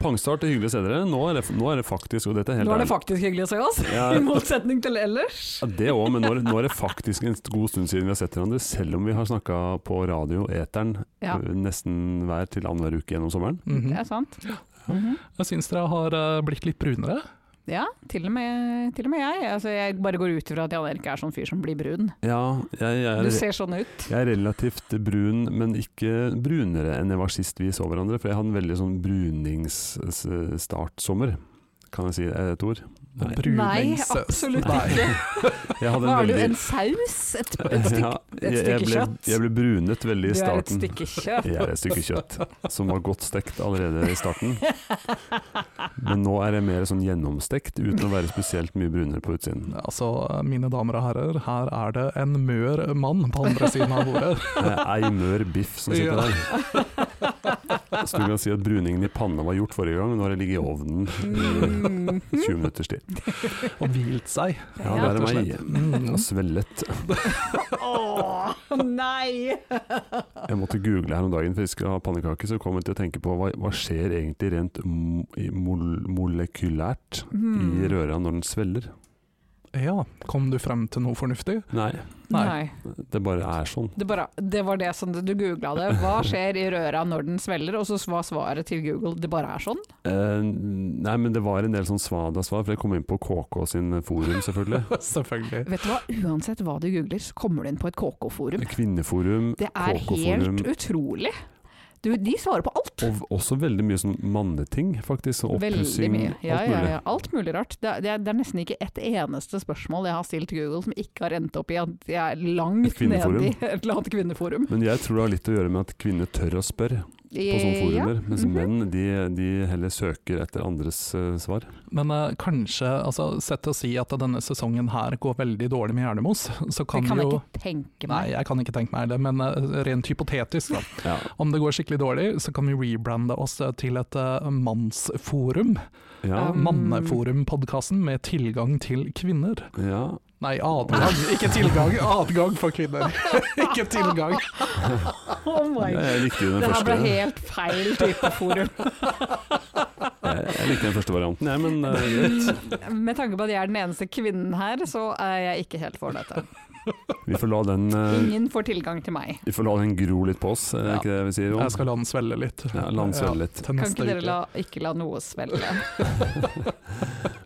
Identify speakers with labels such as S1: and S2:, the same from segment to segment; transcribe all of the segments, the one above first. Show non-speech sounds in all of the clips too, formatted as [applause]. S1: Pangstart til hyggelige steder. Nå er det, nå er det faktisk, og dette er helt
S2: Nå er det
S1: ærlig-
S2: faktisk hyggelig å se oss, [laughs]
S1: Ja.
S2: i motsetning til ellers.
S1: Ja, det òg, men nå er, nå er det faktisk en god stund siden vi har sett hverandre, selv om vi har snakka på radio, eteren,
S2: Ja.
S1: ø, nesten hver til annenhver uke gjennom sommeren.
S2: Det
S3: Mhm.
S2: er sant. Mhm.
S3: Jeg syns dere har eh, blitt litt brunere.
S2: Ja, til og med, til og med jeg. Altså, jeg bare går ut ifra at Jan Erik er sånn fyr som blir brun.
S1: Ja, jeg, jeg,
S2: Du
S1: er,
S2: ser sånn ut.
S1: jeg er relativt brun, men ikke brunere enn jeg var sist vi så hverandre, for jeg hadde en veldig sånn bruningsstartsommer. Kan jeg si et ord? Nei.
S2: Nei,
S3: Bruningssaus.
S2: absolutt
S3: Nei.
S2: ikke.
S1: Jeg hadde
S2: Har
S1: en
S2: du en
S1: veldig
S2: saus? Et, et stykke,
S1: Ja,
S2: et
S1: jeg-
S2: stykke
S1: jeg ble-
S2: kjøtt?
S1: Jeg ble brunet veldig i
S2: du er et
S1: starten.
S2: stykke kjøtt.
S1: Jeg er et stykke kjøtt som var godt stekt allerede i
S2: [laughs]
S1: starten. Men nå er jeg mer sånn gjennomstekt uten å være spesielt mye brunere på utsiden.
S3: Altså, mine damer og herrer, her er det en mør mann på andre siden av
S2: [laughs]
S3: bordet.
S1: Det er ei mør biff som sitter
S3: Ja.
S1: der. Så du kan si at bruningen i panna var gjort forrige gang, men nå har det ligget i ovnen i
S2: Mm.
S1: 20 minutters tid.
S3: Og hvilt seg.
S1: Ja, det er
S3: rett og
S1: meg.
S3: slett. Mm.
S1: Og svellet.
S2: Åh, nei!
S1: Jeg måtte google her om dagen, for jeg skal ha pannekaker, så kom jeg til å tenke på hva, hva skjer egentlig rent mo i mol molekylært i røra når den svelger.
S3: Ja, kom du frem til noe fornuftig? [laughs]
S1: Nei,
S3: Nei.
S2: Mm. Nei.
S1: det bare er sånn.
S2: Det, bare, det var det som du googla det. Hva skjer i røra når den svelger? Og så var svaret til Google det bare er sånn.
S1: Eh, nei, men det var en del sånn svada-svar, for jeg kom inn på KK sin forum, selvfølgelig.
S3: Selvfølgelig.
S2: Vet du hva, uansett hva du googler, så kommer du inn på et KK-forum.
S1: Kvinneforum,
S2: Det er
S1: KK-forum.
S2: helt utrolig. Du, de svarer på alt.
S1: Og også veldig mye sånn manneting, faktisk. Og
S2: Veldig
S1: oppussing.
S2: mye. Ja,
S1: alt
S2: ja,
S1: mulig.
S2: ja. Alt mulig rart. Det er, det er- det er nesten ikke et eneste spørsmål jeg har stilt Google som ikke har endt opp i at jeg er langt
S1: Et kvinneforum.
S2: nede i et eller annet kvinneforum.
S1: Men jeg tror det har litt å gjøre med at kvinner tør å spørre på sånn sånne forumer. Mens
S2: Mhm.
S1: menn de, de heller søker etter andres eh, svar.
S3: Men eh, kanskje, altså, sett til å si at denne sesongen her går veldig dårlig med Jernemos, så
S2: Det
S3: kan,
S2: kan
S3: vi
S2: jeg
S3: jo
S2: ikke tenke
S3: Nei,
S2: meg.
S3: jeg kan ikke tenke meg det, men eh, rent hypotetisk, da.
S1: Ja.
S3: Om det går skikkelig dårlig, så kan vi rebrande oss eh, til et eh, mannsforum.
S1: Ja,
S2: Um.
S3: Manneforum-podkasten med tilgang til kvinner.
S1: ja.
S3: Nei, adgang. Ikke tilgang. Adgang for kvinner. [laughs] ikke tilgang.
S2: [laughs] Oh my
S1: Jeg,
S2: God.
S1: jeg likte jo den
S2: Det her ble
S1: første.
S2: helt feil type forum.
S1: Jeg, jeg likte den første varianten, jeg, men eh, greit.
S2: Med tanke på at jeg er den eneste kvinnen her, så er jeg ikke helt for dette.
S1: Vi får la den, eh,
S2: Ingen får tilgang til meg.
S1: vi får la den gro litt på oss, er det
S3: Ja.
S1: ikke det vi sier? Jon?
S3: Jeg skal la den svelle litt.
S1: Ja, la den svelle litt.
S3: til
S2: Kan
S3: neste
S2: ikke dere
S3: uke.
S2: la, ikke la noe svelle?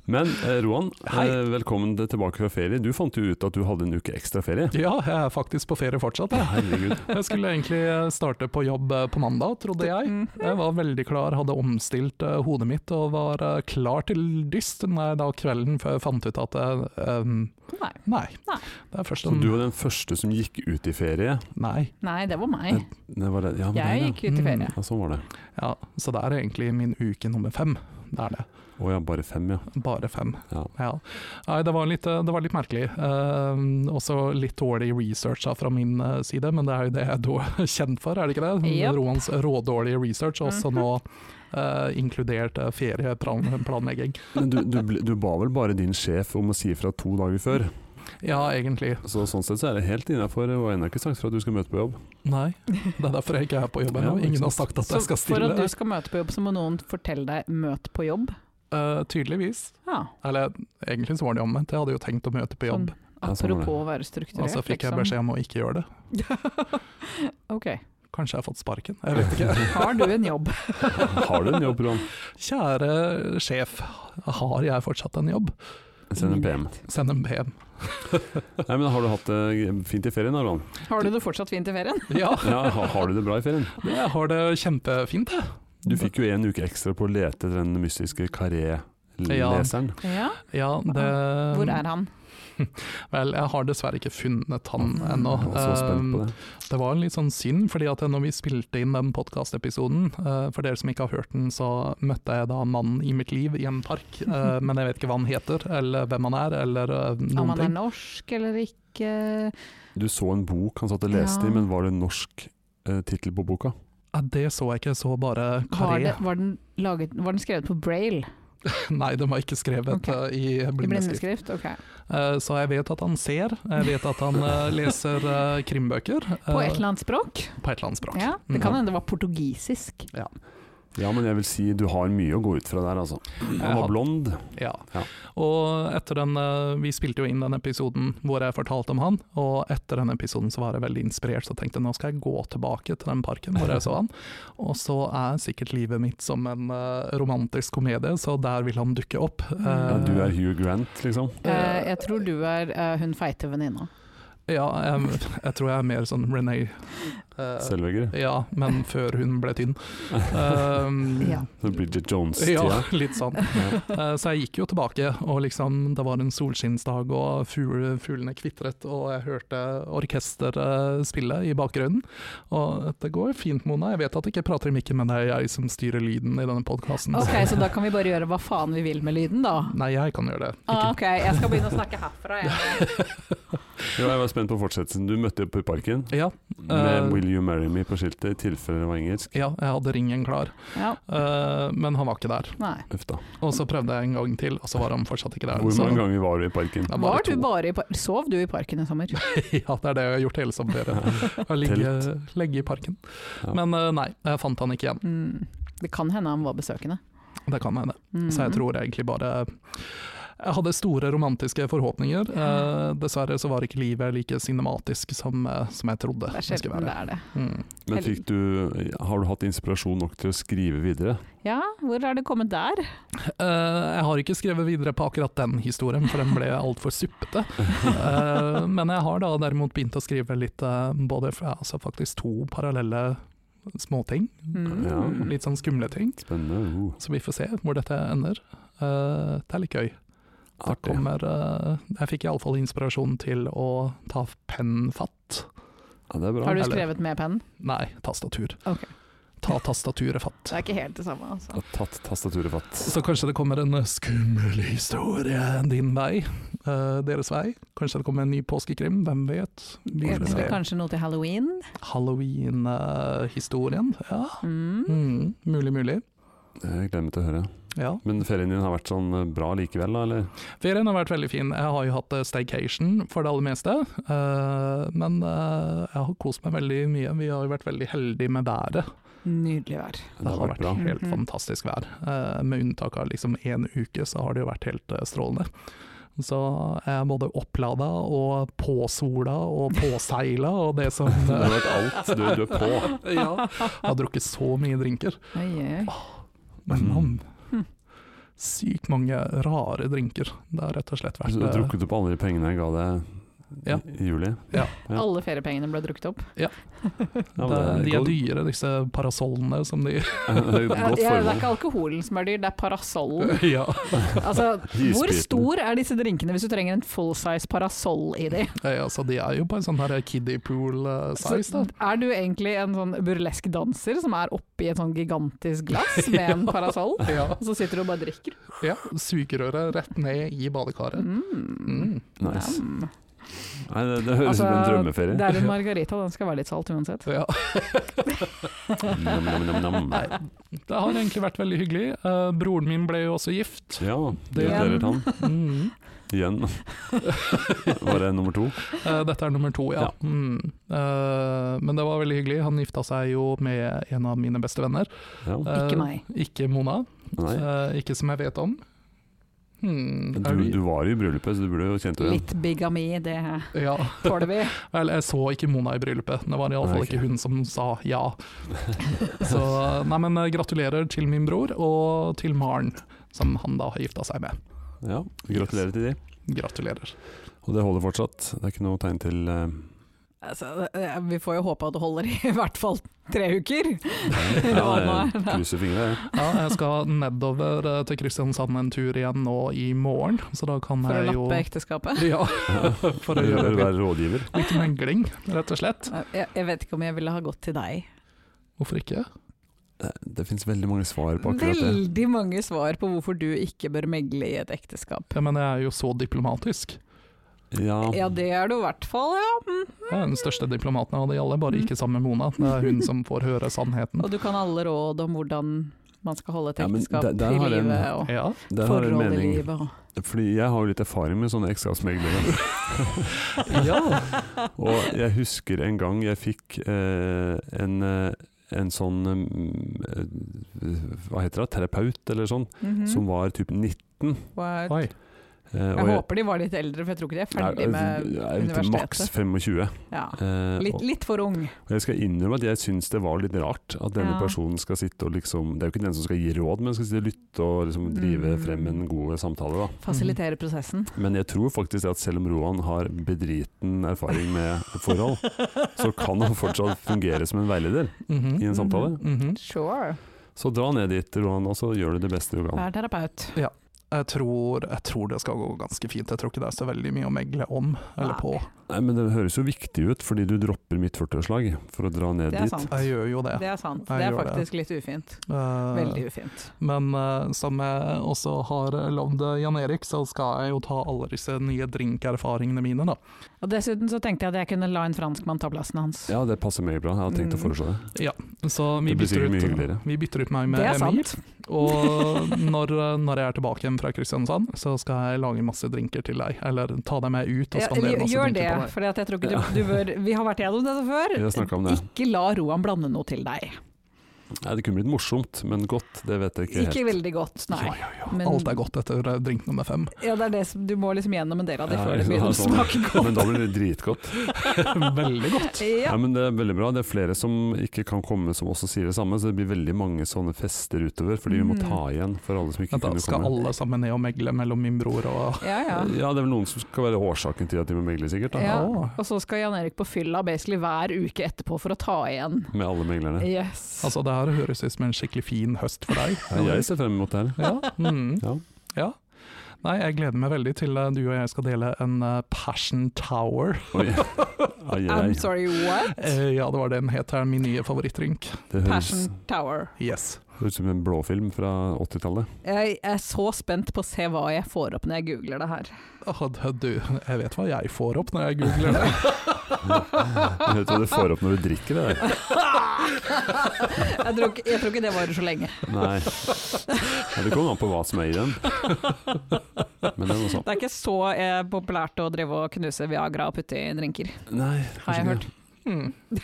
S1: Men eh, Roan,
S3: Hei.
S1: eh, velkommen tilbake fra ferie. Du fant jo ut at du hadde en uke ekstra ferie.
S3: Ja, jeg er faktisk på ferie fortsatt. Jeg.
S1: Herregud.
S3: jeg skulle egentlig starte på jobb eh, på mandag, trodde jeg.
S2: Mm,
S3: Jeg var veldig klar, hadde omstilt eh, hodet mitt og var eh, klar til dyst nei, da kvelden før jeg fant ut at eh, um,
S2: Nei.
S3: nei.
S2: Nei.
S3: Det er først
S1: Så
S3: en
S1: du var den første som gikk ut i ferie.
S3: Nei.
S2: Nei, det var meg.
S1: Det var det. Ja, men
S2: Jeg
S1: det,
S2: gikk ut i ferie.
S3: Mm.
S1: ja. ja, sånn var det.
S3: Ja, så det er egentlig min uke nummer fem. Det er det.
S1: Å ja, bare fem, ja.
S3: Bare fem.
S1: Ja.
S3: Nei, det var litt, eh, det var litt merkelig. Eh, også litt dårlig research da, fra min eh, side, men det er jo det jeg er da [laughs] er kjent for, er det ikke det?
S2: Yep.
S3: Roans rådårlige research,
S2: Mhm.
S3: også nå eh, inkludert eh, ferieplanlegging.
S1: Men du, du, ble- du ba vel bare din sjef om å si fra to dager før,
S3: Ja, egentlig.
S1: så sånn sett så er det helt innafor. Og jeg har ikke sagt fra at du skal møte på jobb.
S3: Nei, det er derfor jeg ikke er på jobb ennå.
S1: Ja, ikke
S3: Ingen har
S1: sant.
S3: sagt at
S2: Så
S3: jeg skal
S2: for at du
S3: stille.
S2: skal møte på jobb, så må noen fortelle deg 'møt på jobb'.
S3: Eh, tydeligvis.
S2: Ja,
S3: Eller egentlig så var det omvendt, jeg hadde jo tenkt å møte på
S2: sånn, liksom.
S3: jobb,
S1: Ja, sånn var det.
S2: apropos å være
S3: og
S2: strukturert,
S3: så fikk jeg beskjed om å ikke gjøre det.
S2: [laughs] ok,
S3: Kanskje jeg har fått sparken, jeg vet ikke.
S2: har du en jobb?
S1: [laughs] Har du en jobb, Roan?
S3: Kjære sjef, har jeg fortsatt en jobb?
S1: Send en PM.
S3: Send en
S1: [laughs]
S3: PM.
S1: Nei, men Har du hatt det fint i ferien da, Roan?
S2: Har du det fortsatt fint i ferien?
S3: Ja,
S1: Ja, ha- har du det bra i ferien?
S3: jeg har det kjempefint, jeg.
S1: Du fikk jo en uke ekstra på å lete etter den mystiske Carré
S3: Ja.
S1: leseren.
S2: Ja.
S3: Ja, det
S2: Hvor er han?
S3: Um, Vel, jeg har dessverre ikke funnet han ennå. Ehm,
S1: Jeg var så spent på det.
S3: Det var en litt sånn synd, fordi at når vi spilte inn den podkastepisoden, eh, for dere som ikke har hørt den, så møtte jeg da mannen i mitt liv i en
S1: [laughs]
S3: park, eh, men jeg vet ikke hva han heter, eller hvem han er, eller eh,
S2: Om
S3: noen
S2: han er
S3: ting.
S2: norsk eller ikke?
S1: Du så en bok han satt og leste
S2: Ja.
S1: i, men var det en norsk eh, tittel på boka?
S3: Eh, Det så jeg ikke, så bare
S2: Var,
S3: karé.
S2: det, var, den laget, var den skrevet på braille?
S3: [laughs] Nei, den var ikke skrevet
S2: Ok.
S3: eh, i
S2: I
S3: blindeskrift.
S2: blindeskrift? Ok.
S3: Eh, Så jeg vet at han ser, jeg vet at han eh, leser eh, krimbøker.
S2: På
S3: eh,
S2: et eller annet språk?
S3: på et eller annet språk. Mm.
S2: Ja, Det kan hende det var portugisisk.
S1: Ja, men jeg vil si du har mye å gå ut fra der, altså.
S3: Jeg
S1: Han
S3: har-
S1: var blond.
S3: Ja.
S1: Ja.
S3: Og etter den, eh, vi spilte jo inn den episoden hvor jeg fortalte om han, og etter den episoden så var jeg veldig inspirert, så tenkte jeg nå skal jeg gå tilbake til den parken hvor jeg så han. Og så er sikkert livet mitt som en eh, romantisk komedie, så der vil han dukke opp. Eh,
S1: Ja, du er Hugh Grant, liksom.
S2: Eh, jeg tror du er eh, hun feite venninna.
S3: Ja, jeg, jeg tror jeg er mer sånn René. eh,
S1: Selvegger.
S3: ja, men før hun
S1: [laughs]
S3: ble tynn. Eh,
S2: Ja.
S1: Så Bridget Jones-tida.
S3: [laughs] Ja, litt sånn.
S1: Ja.
S3: Eh, Så jeg gikk jo tilbake, og liksom, det var en solskinnsdag, og fugle, fuglene kvitret, og jeg hørte orkester eh, spille i bakgrunnen. Og det går fint, Mona. Jeg vet at du ikke prater i mikken, men det er jeg som styrer lyden i denne podkasten.
S2: Ok, Så da kan vi bare gjøre hva faen vi vil med lyden, da?
S3: Nei, jeg kan gjøre det.
S2: Ah,
S3: Ikke.
S2: ok, jeg skal begynne å snakke herfra. Jeg.
S1: Jo, jeg var spent på fortsettelsen. Du møtte opp i parken
S3: Ja,
S1: med
S3: Eh.
S1: 'Will you marry me' på skiltet, i tilfelle det var engelsk.
S3: ja, jeg hadde ringen klar,
S2: Ja,
S3: Eh, men han var ikke der.
S2: nei.
S1: Uff da.
S3: Og så prøvde jeg en gang til, og så var han fortsatt ikke der.
S1: Hvor
S3: så-
S1: mange ganger var du i parken?
S3: Ja, bare
S2: Var du
S3: to.
S2: bare i par Sov du i parken i sommer?
S3: [laughs] Ja, det er det jeg har gjort
S1: [laughs]
S3: hele sommerferien. Å Ligge, ligge i parken.
S1: Ja.
S3: Men eh, nei, jeg fant han ikke igjen.
S2: Mm. Det kan hende han var besøkende.
S3: Det kan hende.
S2: Mm.
S3: Så jeg tror egentlig bare Jeg hadde store romantiske forhåpninger. Eh, dessverre så var ikke livet like cinematisk som, eh, som jeg
S2: det
S3: trodde
S2: er
S3: det skulle
S2: sjelden det
S3: være.
S2: er det.
S3: Mm.
S1: Men fikk du, har du hatt inspirasjon nok til å skrive videre?
S2: Ja, hvor har det kommet der?
S3: Eh, jeg har ikke skrevet videre på akkurat den historien, for den ble altfor suppete. Eh, men jeg har da derimot begynt å skrive litt eh, både fra, altså faktisk to parallelle småting.
S2: Mm.
S1: Ja.
S3: Litt sånn skumle ting.
S1: Spennende. Uh,
S3: Så vi får se hvor dette ender. Eh, det er litt gøy.
S1: Uh, artig.
S3: Kommer, eh, jeg fikk iallfall inspirasjon til å ta pennen fatt.
S1: Ja, det er bra.
S2: Har du
S3: Eller-
S2: skrevet med penn?
S3: Nei, tastatur.
S2: Ok.
S3: Ta tastaturet fatt.
S2: Det er ikke helt det samme, altså.
S1: Har tatt tastaturet fatt.
S3: Så kanskje det kommer en eh, skummel historie din vei, eh, deres vei. Kanskje det kommer en ny påskekrim, hvem vet. Vi får
S2: Eller
S3: se.
S2: kanskje noe til halloween?
S3: Halloween-historien, ja.
S2: Mm.
S3: Mm, mulig, mulig.
S1: Jeg gleder meg til å høre.
S3: Ja.
S1: Men ferien din har vært sånn eh, bra likevel, da? Eller?
S3: Ferien har vært veldig fin. Jeg har jo hatt eh, staycation for det aller meste. eh, men eh, jeg har kost meg veldig mye. Vi har jo vært veldig heldige med været.
S2: Nydelig vær.
S3: Det har vært
S1: bra.
S3: helt
S2: Mhm.
S3: fantastisk vær. Eh, Med unntak av liksom én uke, så har det jo vært helt eh, strålende. Så jeg er både opplada og påsola og påseila og
S1: [laughs]
S3: det som
S1: Du har
S3: eh,
S1: vært alt. Du, du er
S3: [laughs]
S1: på.
S3: Ja. Jeg har drukket så mye drinker.
S2: Oi, oi.
S3: Men
S1: Mhm.
S3: mann,
S2: Mhm.
S3: sykt mange rare drinker. Det har rett og slett vært
S1: Altså, Du har
S3: eh,
S1: drukket opp alle de pengene jeg ga deg i-
S3: Ja.
S1: i
S3: [laughs]
S1: juli? Ja.
S2: Alle feriepengene ble drukket opp.
S1: Ja, men det
S3: det, De
S1: er
S3: er
S1: godt-
S3: dyre, disse parasollene som
S1: [laughs]
S3: de [laughs]
S1: det er et
S2: Ja,
S1: godt
S2: det er
S1: formål.
S2: ikke alkoholen som er dyr, det er
S1: [laughs]
S2: parasollen.
S3: Ja.
S2: Altså, hvor
S1: Isbiten.
S2: stor er disse drinkene hvis du trenger en full size parasoll i de?
S3: Eh, Altså, de er jo på en sånn her kiddie pool eh, size,
S2: Så
S1: [laughs]
S3: da.
S2: er du egentlig en sånn burlesk danser som er oppi et sånn gigantisk
S1: [laughs]
S2: glass med en parasoll,
S3: Ja,
S2: og så sitter du og bare drikker?
S3: ja. Sugerøret rett ned i badekaret.
S2: Mm.
S3: Mm.
S1: Nice.
S2: Jam.
S1: Nei, det, det høres ut
S2: Altså,
S1: som en drømmeferie.
S2: Det
S1: [laughs]
S2: er en margarita, den skal være litt salt uansett.
S3: Ja.
S1: Nam, nam, nam, nam.
S3: Det har egentlig vært veldig hyggelig. Eh, broren min ble jo også gift.
S1: Ja,
S3: Det-
S1: gratulerer han.
S3: Mm.
S2: [laughs]
S1: Igjen. Var det nummer to?
S3: Eh, dette er nummer to, ja.
S1: Ja.
S3: Mm. Eh, men det var veldig hyggelig. Han gifta seg jo med en av mine beste venner.
S1: Ja.
S3: Eh,
S2: Ikke meg.
S3: Ikke Mona.
S1: Nei.
S3: Eh, ikke som jeg vet om. Hmm,
S1: Du,
S3: er vi-
S1: du var jo i bryllupet, så du burde jo kjent henne igjen.
S2: Litt bigami, det
S3: Ja.
S2: tåler vi.
S3: Vel, jeg så ikke Mona i bryllupet. Det var
S1: Nei,
S3: iallfall
S1: ok.
S3: ikke hun som sa
S1: [laughs]
S3: ja. Så nei, men eh, gratulerer til min bror og til Maren, som han da har gifta seg med.
S1: Ja, gratulerer til de.
S3: Gratulerer.
S1: Og det holder fortsatt. Det er ikke noe tegn til eh,
S2: Altså, eh, vi får jo håpe at det holder i [laughs] hvert fall tre uker.
S1: Ja,
S2: [laughs]
S1: eh,
S2: Rana.
S1: jeg krysser fingre. jeg.
S3: Ja, jeg skal nedover eh, til Kristiansand en tur igjen nå i morgen, så da kan
S2: For å
S3: jeg jo
S2: lappe ekteskapet.
S3: [laughs] Ja, for å gjøre
S1: Bør
S3: litt,
S1: være rådgiver.
S3: litt megling, rett og slett.
S2: Jeg, jeg vet ikke om jeg ville ha gått til deg.
S3: Hvorfor ikke?
S1: Det, det finnes veldig mange svar på akkurat det.
S2: Veldig mange svar på hvorfor du ikke bør megle i et ekteskap.
S3: Jeg mener, jeg er jo så diplomatisk.
S1: Ja,
S2: Ja, det er du i hvert fall, ja.
S3: Jeg er den største diplomaten av de alle, bare ikke sammen med Mona. Det er hun som får høre sannheten.
S2: Mm. Og du kan alle råd om hvordan man skal holde et
S1: Ja, men
S2: ekteskap
S1: der- der har
S2: i
S1: jeg en-
S2: livet, og
S3: Ja,
S1: der har du en
S2: forhold i
S1: mening.
S2: livet. og-
S1: [laughs] Fordi jeg har jo litt erfaring med sånne
S2: [laughs]
S1: ekteskapsmeglere. [laughs]
S3: ja.
S1: Og jeg husker en gang jeg fikk eh, en, eh, en sånn mm, eh, Hva heter det? Terapeut, eller sånn.
S2: Mhm.
S1: Som var typ 19.
S2: What?
S3: Oi.
S1: eh,
S2: Jeg
S1: og
S2: håper de var litt eldre, for jeg tror ikke de er ferdig med
S1: jeg- jeg altså, er til Maks
S2: universitetet.
S1: 25.
S2: Ja.
S1: Eh,
S2: Litt,
S1: og-
S2: litt for ung.
S1: og jeg skal innrømme at jeg syns det var litt rart at denne
S2: Ja.
S1: personen skal sitte og liksom Det er jo ikke den som skal gi råd, men skal sitte og lytte og liksom drive
S2: Mm.
S1: frem en god samtale, da.
S2: Fasilitere
S1: Mhm.
S2: prosessen.
S1: Men jeg tror faktisk at selv om Roan har bedriten erfaring med forhold, så kan han fortsatt fungere som en veileder i
S3: Mhm.
S1: en
S2: Mm.
S1: samtale.
S3: Mhm.
S2: Sure.
S1: Så dra ned dit, Roan, og så gjør du det beste du kan.
S2: Vær terapeut.
S3: Jeg tror, jeg tror det skal gå ganske fint. Jeg tror ikke det er så veldig mye å megle om eller på.
S1: Nei, men det høres jo viktig ut, fordi du dropper mitt førteslag for å dra ned
S2: Det er
S1: dit.
S2: sant.
S3: Jeg gjør jo det.
S2: Det er sant.
S3: Jeg
S2: Det er
S3: gjør det.
S2: faktisk litt ufint.
S3: Eh,
S2: Veldig ufint.
S3: Men eh, som jeg også har lovd eh, Jan Erik, så skal jeg jo ta alle disse nye drinkerfaringene mine, da.
S2: Og dessuten så tenkte jeg at jeg kunne la en franskmann ta plassen hans.
S1: Ja, det passer meg bra. Jeg hadde tenkt å
S2: Mm.
S1: foreslå det.
S3: Så vi
S1: Det blir
S3: bytter,
S1: sikkert mye
S3: ut,
S1: hyggeligere.
S3: vi bytter ut meg med
S2: det
S1: eh,
S2: er
S3: Emil.
S2: sant.
S3: Og når, eh, når jeg er tilbake igjen fra Kristiansand, så skal jeg lage masse drinker til deg. Eller ta dem med ut og
S2: Ja,
S3: spandere masse
S2: gjør det,
S3: drinker på deg.
S2: for jeg tror ikke du, du bør Vi har vært gjennom dette før.
S1: Vi har snakket om det.
S2: Ikke la Roan blande noe til deg.
S1: Nei, det kunne blitt morsomt, men godt, det vet jeg ikke helt.
S2: Ikke veldig godt, nei.
S3: Ja, ja, ja.
S2: Men-
S3: Alt er godt etter eh, drink nummer fem.
S2: Ja, det er det som, du må liksom gjennom en del av det
S1: Ja,
S2: før det
S1: ja,
S2: begynner å
S1: sånn.
S2: smake godt.
S1: Men da blir det
S2: [laughs]
S1: dritgodt.
S3: Veldig godt.
S1: Ja.
S2: Ja.
S1: men det er veldig bra. Det er flere som ikke kan komme som også sier det samme, så det blir veldig mange sånne fester utover, fordi vi må
S2: Mm.
S1: ta igjen for alle som ikke
S3: Vent da,
S1: kunne
S3: skal
S1: komme.
S3: alle sammen ned og megle mellom min bror og
S2: Ja, ja.
S1: Ja, det er vel noen som skal være årsaken til at de må megle, sikkert. Da.
S2: ja.
S3: Åh.
S2: Og så skal Jan Erik på fylla basically hver uke etterpå for å ta igjen.
S1: Med alle meglerne.
S2: Yes.
S3: Altså, det her høres ut som en skikkelig fin høst for deg.
S1: Ja, jeg ser frem mot det her.
S3: Ja. Mm.
S1: Ja.
S3: ja. Nei, jeg gleder meg veldig til eh, du og jeg skal dele en eh, Passion Tower.
S1: Oi.
S2: [laughs]
S1: Ai, ai,
S2: I'm
S1: ai.
S2: sorry, what?
S3: Eh, ja, det var det den het her, min nye favorittdrink.
S1: Det høres
S2: Passion Tower.
S3: Yes.
S1: høres ut som en blåfilm fra 80-tallet.
S2: Jeg er så spent på å se hva jeg får opp når jeg googler det her.
S3: Åh, du, jeg vet hva jeg får opp når jeg googler det.
S1: Jeg vet hva du får opp når du drikker det der.
S2: [laughs] Jeg tror ikke, jeg tror ikke det varer så lenge.
S1: Nei. Ja, det kommer an på hva som er i den. Men det er noe sånt.
S2: Det er ikke så eh, populært å drive og knuse Viagra og putte i drinker,
S1: Nei,
S2: har jeg
S1: kanskje
S2: hørt.
S1: ikke.
S3: Mm.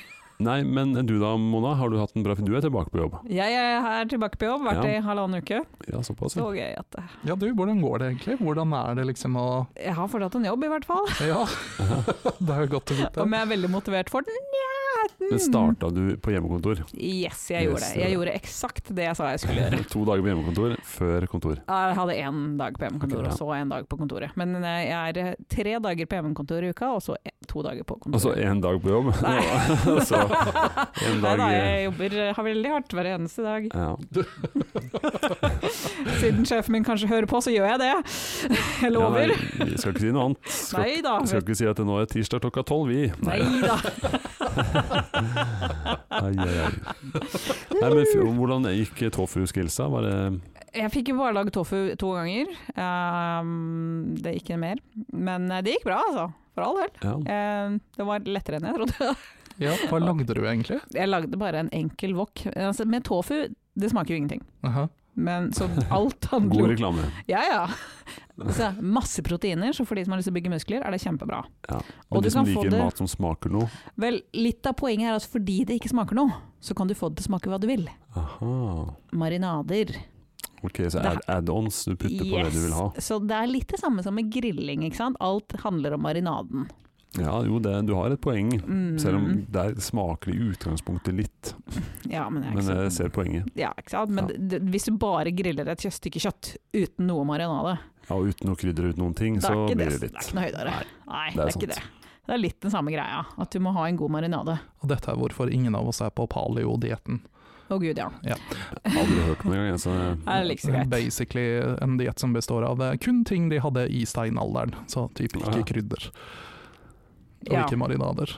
S1: Nei, men du da, Mona, har du hatt en bra Du er tilbake på jobb?
S2: Jeg er her tilbake på jobb, vært
S1: Ja.
S2: i halvannen uke.
S1: Ja, såpass.
S2: Så
S1: ja.
S2: gøy at eh,
S3: Ja, du, hvordan går det egentlig? Hvordan er det liksom å
S2: jeg har fortsatt en jobb, i hvert fall.
S3: Ja, det er jo godt å vite.
S2: Om jeg er veldig motivert for den? Nja mm.
S1: Men starta du på hjemmekontor?
S2: Yes, jeg
S1: Yes,
S2: gjorde det.
S1: det
S2: Jeg
S1: var-
S2: gjorde eksakt det jeg sa jeg skulle
S1: [laughs]
S2: gjøre.
S1: To dager på hjemmekontor før kontor.
S2: Jeg hadde én dag på
S1: Ok,
S2: hjemmekontoret,
S1: bra.
S2: og så én dag på kontoret. Men eh, jeg er eh, tre dager på hjemmekontoret i uka, og så en- to dager på
S1: Og så
S2: kontoret.
S1: én Altså dag på jobb.
S2: Nei.
S1: [laughs] så altså, en dag
S2: Nei da, jeg jobber eh, har veldig hardt hver eneste dag.
S1: ja.
S2: Siden sjefen min kanskje hører på, så gjør jeg det. [laughs] Jeg
S1: Ja,
S2: lover.
S1: nei, vi skal ikke si noe annet. Skal,
S2: Nei da.
S1: vi skal ikke si at det nå er tirsdag klokka tolv, vi.
S2: Nei da.
S1: Ai, ai, ai. nei men fy- hvordan gikk tofu-skillsa? Var det
S2: Jeg fikk jo bare lagd tofu to ganger. Ehm, det gikk ikke mer. Men eh, det gikk bra, altså. For all del.
S1: Ja.
S2: Eh, det var lettere enn jeg trodde. [laughs]
S3: Ja, hva lagde du egentlig?
S2: Jeg lagde bare en enkel wok. Altså, med tofu, det smaker jo ingenting.
S3: Aha.
S2: Men så
S1: [laughs]
S2: alt
S1: God
S2: handler om
S1: reklame.
S2: Ja, ja. Så masse proteiner, så for de som har lyst til å bygge muskler, er det kjempebra.
S1: Ja.
S2: Og
S1: Men
S2: du
S1: de som
S2: kan få
S1: liker
S2: det-
S1: mat som smaker noe
S2: Vel, litt av poenget er at fordi det ikke smaker noe, så kan du få det til å smake hva du vil.
S1: Aha.
S2: Marinader.
S1: Ok, så
S2: Det-
S1: add- add-ons du putter på det du vil ha.
S2: Så det er litt det samme som med grilling, ikke sant. Alt handler om marinaden.
S1: Ja, jo det, du har et poeng.
S2: Mm.
S1: Selv om der smaker det i utgangspunktet litt,
S2: Ja, men, det er
S1: men
S2: ikke
S1: jeg
S2: så-
S1: ser poenget.
S2: Ja, ikke sant? Men
S1: Ja.
S2: d- d- hvis du bare griller et kjø- stykke kjøtt uten noe marinade,
S1: Ja, og uten noe krydder, uten noen ting,
S2: det er
S1: så blir
S2: ikke
S1: det
S2: det, det er
S1: litt.
S2: ikke noe høydere. Nei, det er,
S1: det er
S2: ikke det.
S4: Det er litt den samme greia, at du må ha en god marinade.
S3: Og dette er hvorfor ingen av oss er på paleo-dietten.
S4: Å gud, ja.
S1: Aldri hørt om det
S2: [laughs]
S1: engang. jeg, så-
S2: Er det like så greit?
S3: Basically en diett som består av eh, kun ting de hadde i steinalderen, så typ ikke
S1: Ja.
S3: krydder. Og
S4: Ja.
S3: ikke marinader.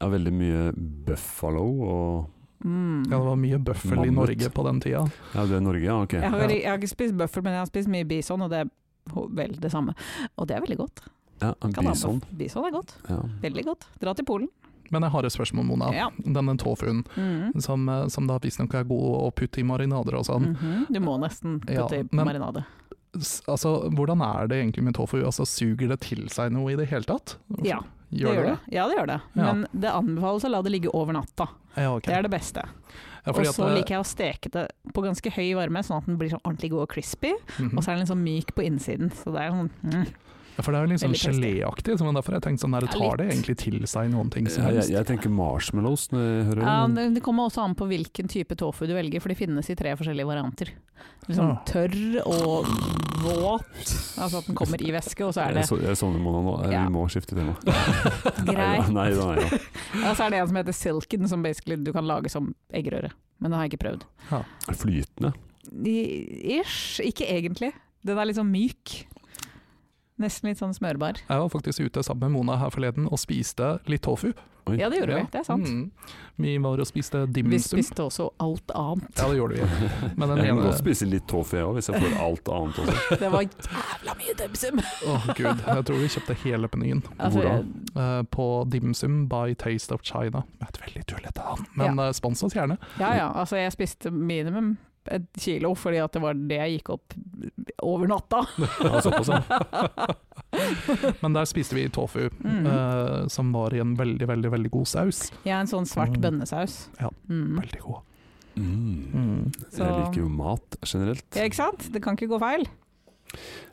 S1: Ja, veldig mye Buffalo og
S4: Mm.
S3: Ja, det var mye bøffel i
S1: Mammut.
S3: Norge på den tida.
S1: Ja, det er Norge, ja. Ok.
S2: Jeg har, vel- jeg har ikke spist bøffel, men jeg har spist mye bison, og det er ho- vel det samme. Og det er veldig godt.
S1: Ja,
S2: Kan ha
S1: Bison.
S2: bøff- Bison er godt.
S1: Ja.
S2: Veldig godt. Dra til Polen.
S3: Men jeg har et spørsmål, Mona.
S2: Ja.
S3: Denne tofuen,
S2: Mhm.
S3: som, eh, som da visstnok er god å putte i marinader og sånn.
S2: Mhm. Du må nesten
S3: Ja,
S2: putte i
S3: men-
S2: marinade.
S3: S- Altså, hvordan er det egentlig med tofu? Altså, suger det til seg noe i det hele tatt?
S2: Ja,
S3: Gjør det det?
S2: Ja, det gjør det.
S3: Ja.
S2: Men det anbefales å la det ligge over natta.
S3: Ja, ok.
S2: Det er det beste.
S3: Ja,
S2: Og
S3: fordi
S2: så
S3: at, eh,
S2: liker jeg å steke det på ganske høy varme, sånn at den blir sånn ordentlig god og crispy.
S3: mhm.
S2: Og så er den litt sånn myk på innsiden. Så det er sånn mm.
S3: Ja, for det er jo litt sånn
S2: Veldig tasty.
S3: geléaktig, så men derfor har jeg tenkt sånn der,
S2: Ja,
S3: tar det
S2: litt.
S3: egentlig til seg noen ting som
S1: Ja, jeg,
S3: helst?
S1: jeg tenker marshmallows når jeg hører
S2: Ja,
S1: den.
S2: det det kommer også an på hvilken type tofu du velger, for de finnes i tre forskjellige varianter. Liksom
S3: Ah.
S2: tørr og våt, altså at den kommer i væske,
S1: [laughs]
S2: og så er det
S1: Jeg, så, jeg sovner Mona nå. Jeg,
S2: Ja.
S1: Vi må skifte
S2: [laughs]
S1: tema.
S2: grei.
S1: Nei da, nei da.
S2: Og så er det en som heter silken, som basically du kan lage som eggerøre. Men den har jeg ikke prøvd.
S1: Flytende.
S2: I- Ish, ikke egentlig. Den er litt sånn myk. Nesten litt sånn smørbar.
S3: Jeg var faktisk ute sammen med Mona her forleden og spiste litt tofu.
S1: Oi.
S2: Ja, det gjorde
S3: Ja.
S2: vi. Det er sant.
S3: Mm. Vi var og spiste
S2: Vi
S3: dimsum.
S2: spiste også alt annet.
S3: [laughs] Ja, det gjorde vi. Men den
S1: Jeg kan
S3: ene
S1: godt spise litt tofu jeg òg, hvis jeg får alt annet
S3: [laughs]
S1: også.
S2: [laughs] Det var jævla mye dimsum.
S3: Å gud, jeg tror vi kjøpte hele menyen
S2: [laughs] Altså,
S1: Hvor da?
S2: jeg-
S3: eh, på dimsum by Taste of China. Et veldig tullete navn, men ja. spons
S1: [laughs]
S3: oss gjerne.
S2: Ja ja, altså jeg spiste minimum et kilo, fordi at det var det jeg gikk opp over natta.
S1: Ja, såpass, ja.
S3: [laughs] Men der spiste vi tofu,
S2: Mhm.
S3: eh, som var i en veldig, veldig veldig god saus.
S2: Jeg er en sånn svart
S3: Mm.
S2: bønnesaus.
S3: Ja.
S2: Mm.
S3: Veldig god.
S1: Mm.
S3: Mm.
S1: Jeg
S2: Så-
S1: liker jo mat generelt.
S2: Ja, ikke sant? Det kan ikke gå feil.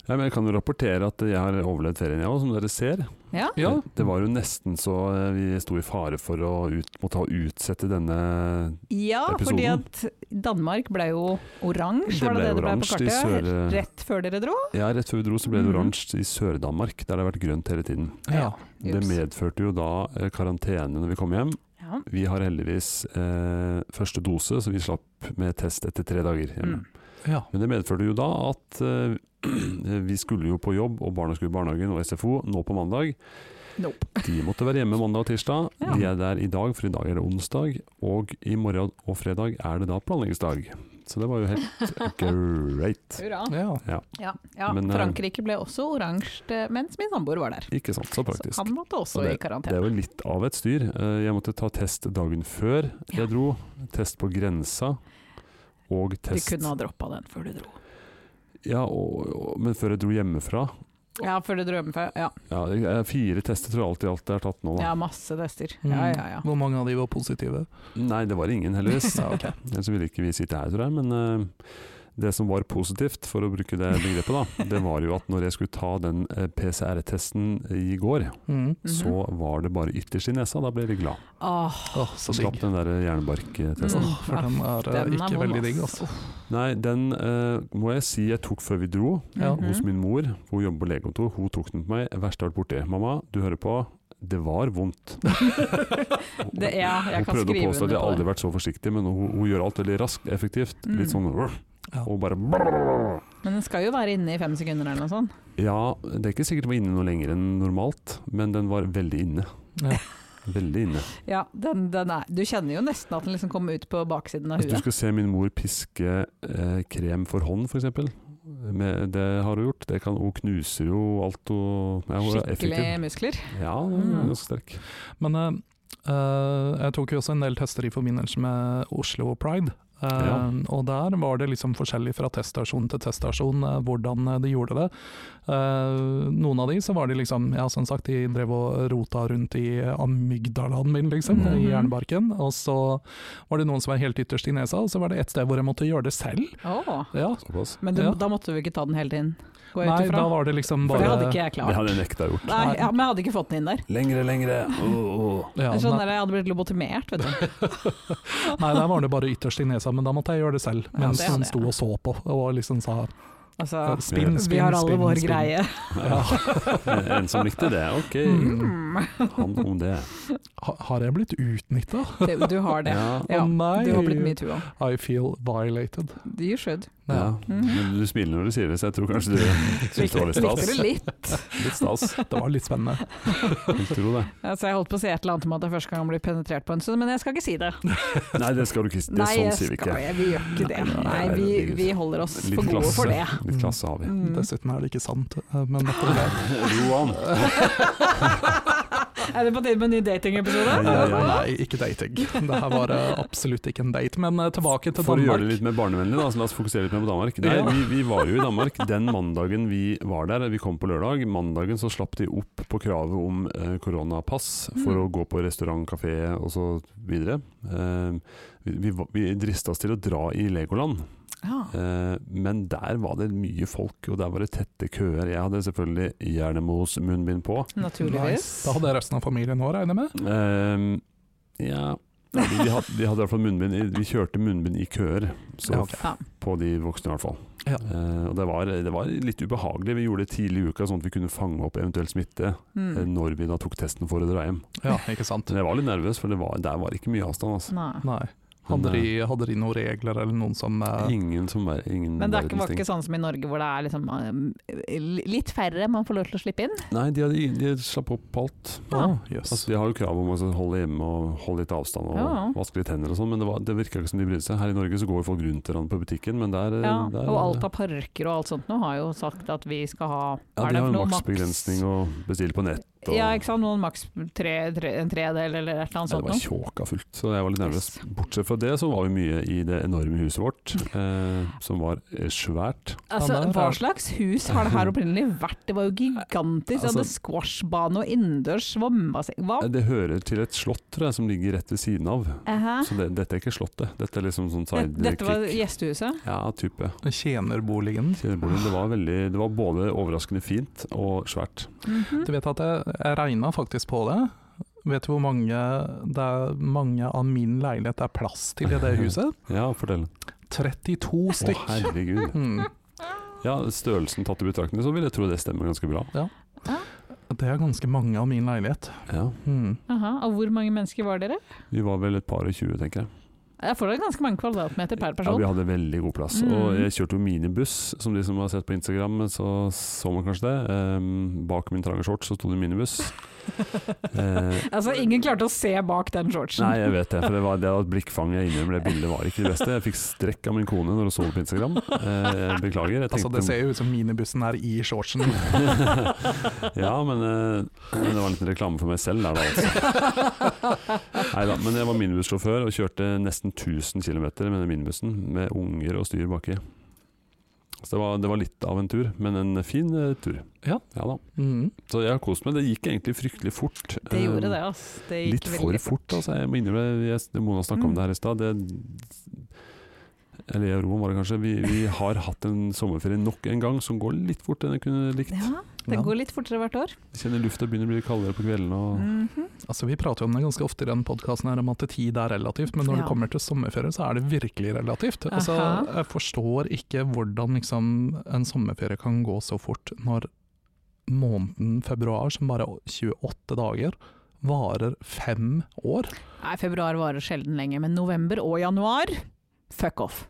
S1: Ja, men jeg kan jo rapportere at jeg har overlevd ferien jeg òg, som dere ser.
S2: Ja.
S3: Ja.
S1: Det var jo nesten så eh, vi sto i fare for å ut, måtte ha utsette denne
S2: Ja, fordi at Danmark ble jo oransje, var det det det ble på
S1: oransje i
S2: kartet?
S1: sør... eh,
S2: Rett før dere dro?
S1: Ja, rett før vi dro så ble det
S2: Mhm.
S1: oransje i Sør-Danmark, der det har vært grønt hele tiden.
S3: ja.
S1: Det
S2: Ups.
S1: medførte jo da eh, karantene når vi kom hjem.
S2: Ja. Mm.
S1: Vi har heldigvis eh, første dose, så vi slapp med test etter tre dager hjemme.
S2: Mm.
S3: ja.
S1: Men det medførte jo da at eh, [clears throat] vi skulle jo på jobb, og barna skulle i barnehagen og SFO nå på mandag.
S2: Nope.
S1: De måtte være hjemme mandag og tirsdag.
S2: Ja.
S1: De er der i dag, for i dag er det onsdag. Og i morgen og fredag er det da planleggingsdag. Så det var jo helt
S2: [laughs]
S1: great.
S2: Hurra.
S3: ja.
S2: Ja, ja
S1: Men, eh,
S2: Frankrike ble også oransje eh, mens min samboer var der.
S1: Ikke sant, så praktisk.
S2: Så han måtte også
S1: Og
S2: i
S1: Det
S2: karantene.
S1: er jo litt av et styr. Eh, Jeg måtte ta test dagen før jeg dro. Test på grensa. Og
S2: Du
S1: test
S2: kunne ha droppa den før du dro.
S1: ja, og, og, Men før jeg dro hjemmefra
S2: Ja, før du dro hjemmefra. Ja.
S1: ja, jeg- jeg- Fire tester tror jeg alt i alt jeg har tatt nå. Da.
S2: ja, masse tester. Ja, ja,
S1: Mm.
S2: ja.
S3: Hvor mange av de var positive?
S1: Nei, det var ingen,
S2: [laughs]
S1: heldigvis.
S3: Ja, ok.
S1: Ellers ville ikke vi sitte her, tror jeg. Men eh, det som var positivt, for å bruke det begrepet, da, det var jo at når jeg skulle ta den eh, PCR-testen i går,
S2: Mhm.
S3: Mm.
S1: så var det bare ytterst i nesa. Da ble jeg litt glad.
S2: Åh,
S3: Åh, så
S1: Så slapp
S3: digg.
S1: den der jernbarktesten.
S2: Mm.
S3: Åh, for den er eh,
S2: Den er Mhm.
S3: ikke
S2: vond,
S3: veldig digg,
S2: ass.
S3: altså.
S1: Nei, den eh, må jeg si jeg tok før vi dro.
S3: Ja.
S2: mhm.
S1: Hos min mor, for hun jobber på legekontor, hun tok den på meg. Verst har vært borti. Mamma, du hører på. Det var vondt.
S2: [laughs]
S1: [laughs]
S2: Det, ja, jeg
S1: hun
S2: kan
S1: prøvde å
S2: skrive
S1: påstå
S2: under
S1: at jeg
S2: på
S1: aldri
S2: det. Mm.
S1: har vært så forsiktig, men hun, hun gjør alt veldig raskt, effektivt. Litt sånn
S3: Ja.
S1: Og bare [laughs]
S2: Men den skal jo være inne i fem sekunder eller noe sånt.
S1: Ja, det er ikke sikkert den var inne noe lenger enn normalt, men den var veldig inne.
S3: Ja.
S1: Veldig inne.
S2: Ja, den, den er, du kjenner jo nesten at den liksom kommer ut på baksiden av
S1: Hvis du
S2: huet.
S1: skal se min mor piske eh, krem for hånd, f.eks. Det har hun gjort. Det kan, hun knuser jo alt hun ja, Hun er
S2: Skikkelig
S1: effektiv.
S2: muskler.
S1: Ja, hun er
S2: Mm.
S1: ganske sterk.
S3: Men eh, eh, jeg tok jo også en del tester i forbindelse med Oslo Pride. Eh,
S1: Ja.
S3: Og der var det liksom forskjellig fra teststasjon til teststasjon eh, hvordan eh, de gjorde det. Eh, noen av de så var de liksom, ja som sagt, de drev og rota rundt i amygdalaen min, liksom,
S1: Mhm.
S3: i jernbarken. Og så var det noen som var helt ytterst i nesa, og så var det et sted hvor jeg måtte gjøre det selv.
S2: Åh.
S3: Ja.
S1: Såpass.
S2: Men du,
S3: Ja.
S2: da måtte du ikke ta den hele tiden? Går jeg
S3: Nei,
S2: ut
S3: da
S2: ifra?
S3: var det liksom
S2: For
S3: bare
S2: det hadde ikke jeg
S1: Det
S2: klart.
S1: hadde jeg nekta gjort.
S2: Nei, ja, men jeg hadde ikke fått den inn der.
S1: Lengre, lengre.
S3: ja,
S2: Det er sånn
S3: nei,
S2: der, jeg hadde blitt lobotomert,
S1: [laughs]
S2: vet du.
S3: nei, der var det bare ytterst i nesa, men da måtte jeg gjøre det selv.
S2: Ja,
S3: Mens
S2: det hadde
S3: hun
S2: jeg.
S3: sto og så på og liksom sa
S2: Altså,
S3: Ja, Spinn, spinn,
S2: vi har alle
S3: spinn,
S2: vår
S3: spinn.
S2: greie.
S1: En som likte det, ok.
S2: Mm.
S1: Han om det.
S3: Ha- Har jeg blitt utnytta?
S2: Det- Du har det.
S1: Ja.
S2: Ja,
S3: Å nei!
S2: Du har blitt metoo.
S3: I feel violated.
S2: You should.
S1: Ja.
S3: Ja.
S1: Men du smiler når du sier det, så jeg tror [laughs] kanskje du syns det var litt
S2: Likte
S1: stas.
S2: det litt.
S1: Litt stas,
S3: [laughs] Det var litt spennende.
S1: vil tro det.
S2: Altså, jeg holdt på å si et eller annet om at det er første gang han blir penetrert på en stund, men jeg skal ikke si det.
S1: Nei, det skal du ikke si. Det
S2: Nei,
S1: sånn
S2: jeg
S1: sier vi ikke.
S2: skal- vi gjør ikke det.
S1: Nei,
S2: Nei,
S1: nei,
S2: vi,
S1: det blir-
S2: vi holder oss
S1: Litt
S2: for gode
S1: klasse.
S2: for det.
S1: Litt klasse har vi.
S2: Mm.
S3: Dessuten er det ikke sant, eh, men dette er
S1: [laughs]
S3: greit.
S1: Roan.
S2: Er det på tide med en ny datingepisode?
S1: Ja, ja, ja.
S3: Nei, ikke dating. Det her var eh, absolutt ikke en date. Men eh, tilbake til
S1: For å gjøre det
S3: Danmark.
S1: litt mer barnevennlig, da, så la oss fokusere litt mer på Danmark. Nei,
S3: Ja.
S1: vi, vi var jo i Danmark den mandagen vi var der. Vi kom på lørdag. Mandagen så slapp de opp på kravet om eh, koronapass for å gå på restaurant, kafé osv. Eh, vi vi, var- vi drista oss til å dra i Legoland.
S2: Ja.
S1: Eh, men der var det mye folk, og der var det tette køer. Jeg hadde selvfølgelig Jernemos munnbind på.
S2: Naturligvis.
S3: Da hadde jeg resten av familien òg, regner jeg med.
S1: Eh, ja Nei, de, de hadde, de hadde i hvert fall munnbind i, Vi kjørte munnbind i køer, så
S3: Ja, ok.
S2: Ja.
S1: på de voksne i hvert fall.
S3: Ja.
S1: Eh, og det var, det var litt ubehagelig. Vi gjorde det tidlig i uka, sånn at vi kunne fange opp eventuell smitte eh,
S2: Mm.
S1: når vi da tok testen for å dra hjem.
S3: Ja, ikke sant.
S1: Men jeg var litt nervøs, for det var, der var ikke mye avstand. Altså. eh,
S2: Nei.
S3: Nei. Hadde de, hadde de noen regler eller noen som eh,
S1: Ingen som var ingen
S2: Men det er ikke,
S1: verdens
S2: var
S1: ting.
S2: ikke sånn som i Norge hvor det er liksom, eh, litt færre man får lov til å slippe inn?
S1: Nei, de, hadde, de slapp opp på alt.
S3: Å, jøss.
S1: Altså, de har jo krav om å holde hjemme og holde litt avstand og
S2: Ja.
S1: vaske litt hender og sånn, men det, var- det virka ikke som de brydde seg. Her i Norge så går folk rundt hverandre på butikken, men der, eh,
S2: Ja,
S1: der
S2: og alt av parker og alt sånt nå har jo sagt at vi skal ha
S1: ja,
S2: er
S1: de
S2: det
S1: har
S2: for
S1: jo
S2: noe
S1: maksbegrensning og bestiller på nett.
S2: maks-
S1: og-
S2: Ja, ikke sant. Noen maks tre, tre, en tredel eller et eller annet
S1: Nei, det
S2: sånt
S1: var
S2: noe.
S1: tjåka fullt, så jeg var litt nervøs.
S2: Yes.
S1: Bortsett fra det så var vi mye i det enorme huset vårt, eh, som var eh, svært.
S2: Altså,
S3: Ja, der
S2: hva
S3: er-
S2: slags hus har det
S1: [laughs]
S2: her opprinnelig vært? Det var jo gigantisk. De hadde
S1: Altså-
S2: squashbane og innendørs svømmebasseng. Hva?
S1: Eh, Det hører til et slott, tror jeg, som ligger rett ved siden av.
S2: Hæ?
S1: Så det, dette er ikke slottet, dette er liksom sånn
S2: Dette, dette var
S1: sidekick.
S2: gjestehuset?
S1: Ja, type.
S3: Tjenerboligen.
S1: Kjellerboligen. Det var, veldig, det var både overraskende fint og svært.
S2: Mhm.
S3: Du vet at jeg, jeg regna faktisk på det. Vet du hvor mange, det er mange av min leilighet det er plass til i det huset?
S1: Ja, fortell.
S3: 32
S1: Å,
S3: stykk.
S1: herregud.
S3: Mm.
S1: Ja, størrelsen tatt i betraktning, så vil jeg tro det stemmer ganske bra.
S3: Det er ganske mange av min leilighet.
S1: Ja.
S3: Mm.
S2: Ah. Aha, og hvor mange mennesker var dere?
S1: Vi var vel et par og tjue, tenker jeg.
S2: Jeg får da ganske mange kvadratmeter per
S1: Ja,
S2: person.
S1: vi hadde veldig god plass.
S2: Mm.
S1: Og jeg kjørte jo minibuss, som de som har sett på Instagram, så så man kanskje det. Ehm, bak min trange shorts så sto det minibuss. Eh,
S2: [laughs] Altså, ingen klarte å se bak den shortsen.
S1: nei, jeg vet det, for det var det at blikkfanget jeg innrømmer det bildet var ikke det beste. Jeg fikk strekk av min kone når hun så det på Instagram. Eh, jeg beklager. Jeg
S3: Altså,
S1: tenkte
S3: det ser jo ut som minibussen er i shortsen.
S1: [laughs] Ja, men eh, det var en liten reklame for meg selv der, da. Altså.
S2: [laughs]
S1: Neida, men jeg var minibussjåfør og kjørte nesten 1000 km med den minibussen, med unger og styr baki. Så det var, det var litt av en tur, men en fin eh, tur.
S3: Ja.
S1: da.
S3: Mm.
S1: Så jeg har kost meg. Det gikk egentlig fryktelig fort.
S2: Det gjorde
S1: Eh,
S2: det, altså. Det gikk
S1: Litt for
S2: veldig Mm.
S1: fort, altså. Jeg må innrømme jeg- Mona snakka om det her i stad. det- Eller i Roan var det kanskje. Vi, vi har hatt en sommerferie nok en gang som går litt fort enn jeg kunne likt.
S2: Ja, det
S3: Ja.
S2: går litt fortere hvert år.
S1: Jeg kjenner lufta begynner å bli kaldere på kveldene. Og
S2: Mhm.
S3: Altså, vi prater jo om det ganske ofte i den podkasten om at tid er relativt, men når
S2: Ja.
S3: det kommer til sommerferie, så er det virkelig relativt. Altså,
S2: Aha.
S3: jeg forstår ikke hvordan liksom, en sommerferie kan gå så fort når måneden februar, som bare er 28 dager, varer fem år.
S2: Nei, februar varer sjelden lenge, men november og januar, fuck off.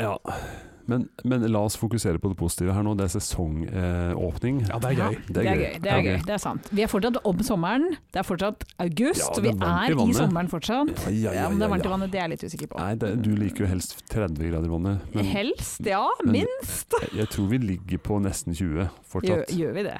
S1: Ja, men, men la oss fokusere på det positive her nå. Det er sesongåpning.
S3: Ja, det er
S2: Ja,
S3: gøy.
S1: Det er gøy.
S2: Det er,
S1: Ja,
S2: gøy.
S1: gøy.
S2: det er sant. Vi er fortsatt om sommeren. Det er fortsatt august,
S1: Ja,
S2: og vi
S1: det er varmt i
S2: er i
S1: vannet.
S2: sommeren fortsatt.
S1: Ja, ja,
S2: Ja,
S1: ja,
S2: om det er varmt i
S1: ja.
S2: vannet, det er jeg litt usikker på.
S1: Nei, det, du liker jo helst 30 grader i vannet, men jeg,
S2: Helst, ja.
S1: men-
S2: Minst.
S1: jeg tror vi ligger på nesten 20
S2: Gjør,
S1: fortsatt.
S2: gjør vi det?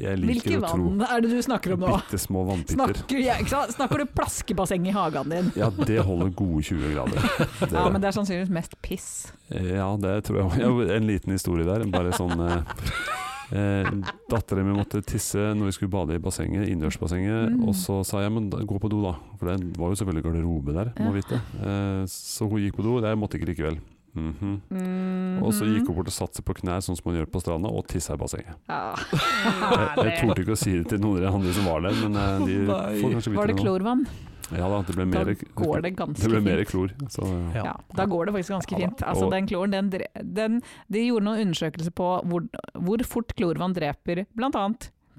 S1: Jeg liker
S2: Hvilke
S1: å tro
S2: vann er det du snakker om nå?
S1: bitte små vannpytter.
S2: Snakker, ja, ikke sant? snakker du plaskebasseng i hagen din?
S1: Ja, det holder gode 20
S2: [laughs]
S1: grader. Det,
S2: Ja, men det er sannsynligvis mest piss.
S1: Ja, det tror jeg. Ja, en liten historie der. Bare sånn eh,
S2: [laughs]
S1: eh, Dattera mi måtte tisse når vi skulle bade i bassenget, innendørsbassenget.
S2: Mm.
S1: Og så sa jeg men da, gå på do, da. For det var jo selvfølgelig garderobe der.
S2: Ja.
S1: Må vite. Eh, så hun gikk på do. Jeg måtte ikke likevel. Mhm.
S2: Mm,
S1: Og så gikk hun bort og satte seg på knær, sånn som man gjør på stranda, og tissa i bassenget. [laughs]
S2: Ja.
S1: Jeg, jeg torde ikke å si det til noen av de andre som var der, men eh, de
S3: Nei.
S1: får kanskje
S2: Var
S1: vite det
S2: det
S1: nå.
S2: klorvann?
S1: Ja da, det ble
S2: Da
S1: mer,
S2: går det ganske
S1: det ble mer
S2: fint.
S1: klor. Så, ja.
S3: Ja.
S2: Ja, da går det faktisk ganske
S1: Ja da.
S2: fint. Altså,
S1: Og-
S2: den kloren, den, dre- den, de gjorde noen undersøkelser på hvor, hvor fort klorvann dreper bl.a.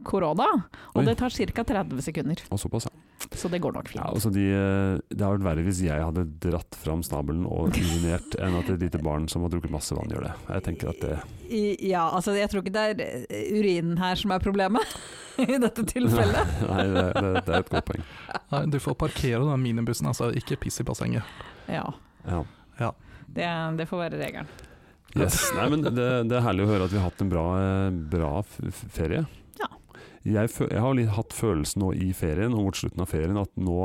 S2: korona. Og
S1: Oi.
S2: det tar ca. 30 sekunder,
S1: Og såpass, ja.
S2: så det går nok
S1: ja
S2: fint.
S1: altså de, eh, det hadde vært verre hvis jeg hadde dratt fram snabelen og urinert, enn at et lite barn som har drukket masse vann, gjør det. Jeg tenker at det
S5: I, ja, altså jeg tror ikke det er eh, urinen her som er
S2: [laughs]
S5: problemet i dette tilfellet.
S1: [laughs] Nei, det, det, det er et godt poeng.
S3: Nei, Du får parkere den minibussen, altså. Ikke piss i bassenget.
S2: Ja,
S1: Ja.
S2: det, det får være regelen.
S1: Yes. [laughs] Nei, men det, det er herlig å høre at vi har hatt en bra, eh, bra f f- ferie.
S2: Ja.
S1: Jeg, fø- jeg har litt hatt følelsen nå i ferien, og mot slutten av ferien, at nå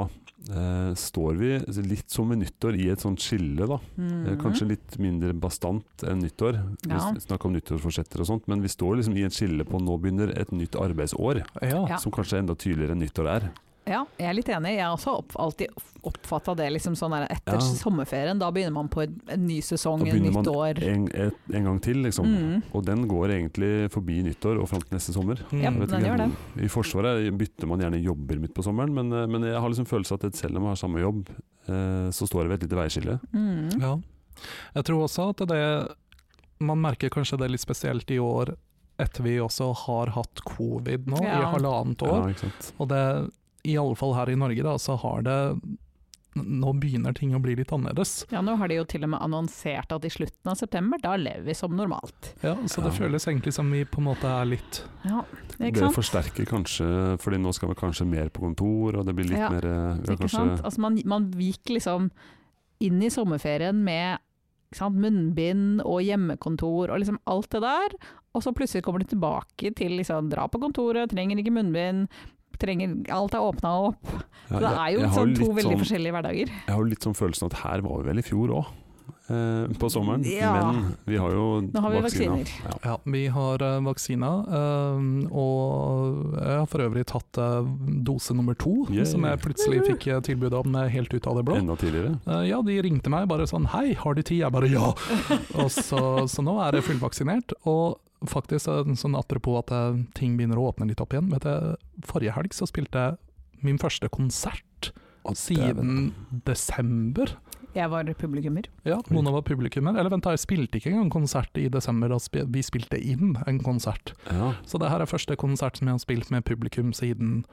S1: eh, står vi litt som ved nyttår i et sånt skille, da. Eh,
S2: Mm.
S1: Kanskje litt mindre bastant enn nyttår. Vi
S2: Mhm. Ja.
S1: s- snakker om nyttårsforsetter og sånt, men vi står liksom i et skille på nå begynner et nytt arbeidsår,
S3: Ja.
S2: Ja.
S1: som kanskje er enda tydeligere enn nyttår er.
S2: Ja, jeg er litt enig. Jeg har også opp, alltid oppfatta det liksom sånn der etter
S1: Ja.
S2: sommerferien. Da begynner man på en, en ny sesong,
S1: Da
S2: et
S1: begynner
S2: nytt
S1: man
S2: år.
S1: en, et, en gang til, liksom.
S2: Mm.
S1: Og den går egentlig forbi nyttår og fram til neste sommer.
S2: Ja,
S1: Jeg
S3: Mm.
S1: vet
S2: den
S1: ikke,
S2: gjør det.
S1: I Forsvaret bytter man gjerne jobber midt på sommeren, men, eh, men jeg har liksom følelse at selv om jeg har samme jobb, eh, så står jeg ved et lite veiskille.
S2: Mm.
S3: Ja. Jeg tror også at det Man merker kanskje det litt spesielt i år etter vi også har hatt covid nå i
S2: Ja.
S3: halvannet
S1: Ja,
S3: år.
S1: ikke sant?
S3: Og det, i alle fall her i Norge, da, så har det Nå begynner ting å bli litt annerledes.
S2: Ja, nå har de jo til og med annonsert at i slutten av september, da lever vi som normalt.
S3: Ja, så det
S1: Ja.
S3: føles egentlig som vi på en måte er litt
S2: Ja, ikke
S1: Det
S2: sant?
S1: forsterker kanskje, fordi nå skal vi kanskje mer på kontor, og det blir litt
S2: Ja,
S1: mer eh, vi har
S2: Ikke
S1: kanskje-
S2: sant? Altså man, man gikk liksom inn i sommerferien med ikke sant? munnbind og hjemmekontor og liksom alt det der, og så plutselig kommer du tilbake til liksom dra på kontoret, trenger ikke munnbind, trenger, alt er åpna opp.
S1: Ja,
S2: Så det er jo
S1: jeg har
S2: sånn to
S1: litt
S2: veldig
S1: sånn-
S2: forskjellige hverdager.
S1: Jeg har jo litt sånn følelsen at her var vi vel i fjor òg, eh, på sommeren.
S2: Ja.
S1: Men vi har jo
S2: Nå har vi
S1: vaksina.
S2: vaksiner.
S1: Ja.
S3: Ja, vi har eh, vaksina, eh, og jeg har for øvrig tatt eh, dose nummer to,
S1: Yay.
S3: som jeg plutselig fikk eh, tilbud om eh, helt ut av det blå.
S1: Enda tidligere.
S3: Eh, Ja, de ringte meg bare sånn 'hei, har du tid?' Jeg bare 'ja'. Og så, så nå er jeg fullvaksinert. Og faktisk, eh, sånn apropos at eh, ting begynner å åpne litt opp igjen, vet jeg, forrige helg så spilte jeg min første konsert
S1: Og
S3: siden desember.
S2: Jeg var publikummer.
S3: Ja, Mona var publikummer. Eller vent, da, jeg spilte ikke engang konsert i desember, da spi- vi spilte inn en konsert.
S1: Ja.
S3: Så det her er første konsert som jeg har spilt med publikum siden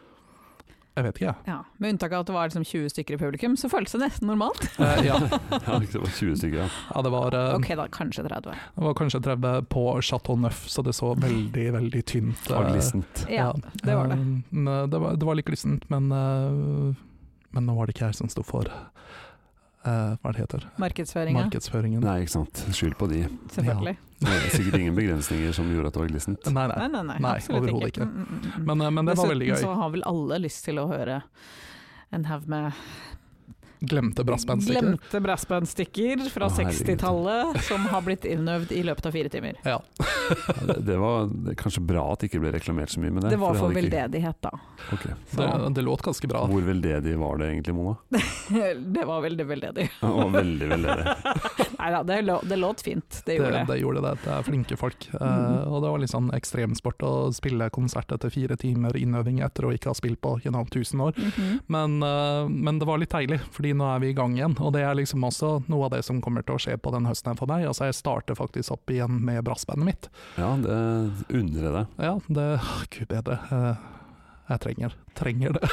S3: jeg vet ikke, jeg.
S2: Ja, med unntak av at det var liksom 20 stykker i publikum, så føltes det nesten normalt.
S3: Eh, ja,
S1: ja, det var 20 stykker, ja.
S3: ja, det var eh,
S2: Ok da, kanskje 30.
S3: Det var kanskje 30 på Chateau Neuf, så det så veldig, veldig tynt eh,
S1: Og glissent.
S2: Ja, det var det.
S3: eh, men det, var, det var litt glissent, men, eh, men nå var det ikke jeg som sto for eh, hva det heter,
S2: Markedsføringa,
S3: markedsføringen.
S1: Nei, ikke sant. Skyld på de.
S2: selvfølgelig.
S1: Det er sikkert ingen begrensninger som gjorde at det var glissent.
S3: Nei,
S2: Nei,
S3: nei.
S2: nei, nei.
S3: Nei,
S2: Absolutt
S3: overhodet ikke.
S2: Mm, mm, mm.
S3: Men, eh, men det var veldig
S2: Dessuten
S3: gøy.
S2: så har vel alle lyst til å høre en haug med
S3: Glemte brassbandstikker.
S2: glemte brassbandstikker fra
S1: Å, herregud.
S2: 60-tallet som har blitt innøvd i løpet av fire timer.
S3: Ja.
S1: Ja, Det, det var det er kanskje bra at det ikke ble reklamert så mye med det.
S2: Det var for
S1: det hadde
S2: veldedighet, da. [laughs]
S1: ikke- ok.
S3: Det, det låt ganske bra.
S1: Hvor veldedig var det egentlig, Mona?
S2: Det var veldig veldedig.
S1: Ja, det var veldig veldedig.
S2: Nei da, det, lå- det låt fint. Det
S3: Det,
S2: gjorde det.
S3: det gjorde det. Det er flinke folk. eh,
S2: Mhm.
S3: og det var litt sånn ekstremsport å spille konsert etter fire timer innøving etter å ikke ha spilt på gjennom 1000 år.
S2: Mhm.
S3: Men, eh, men det var litt deilig, fordi nå er vi i gang igjen. Og det er liksom også noe av det som kommer til å skje på den høsten her for meg. Altså, jeg starter faktisk opp igjen med brassbandet mitt.
S1: Ja, det undrer jeg deg.
S3: Ja, det [laughs] åh, Gud bedre. Eh, Jeg trenger, trenger
S2: [laughs]
S3: det.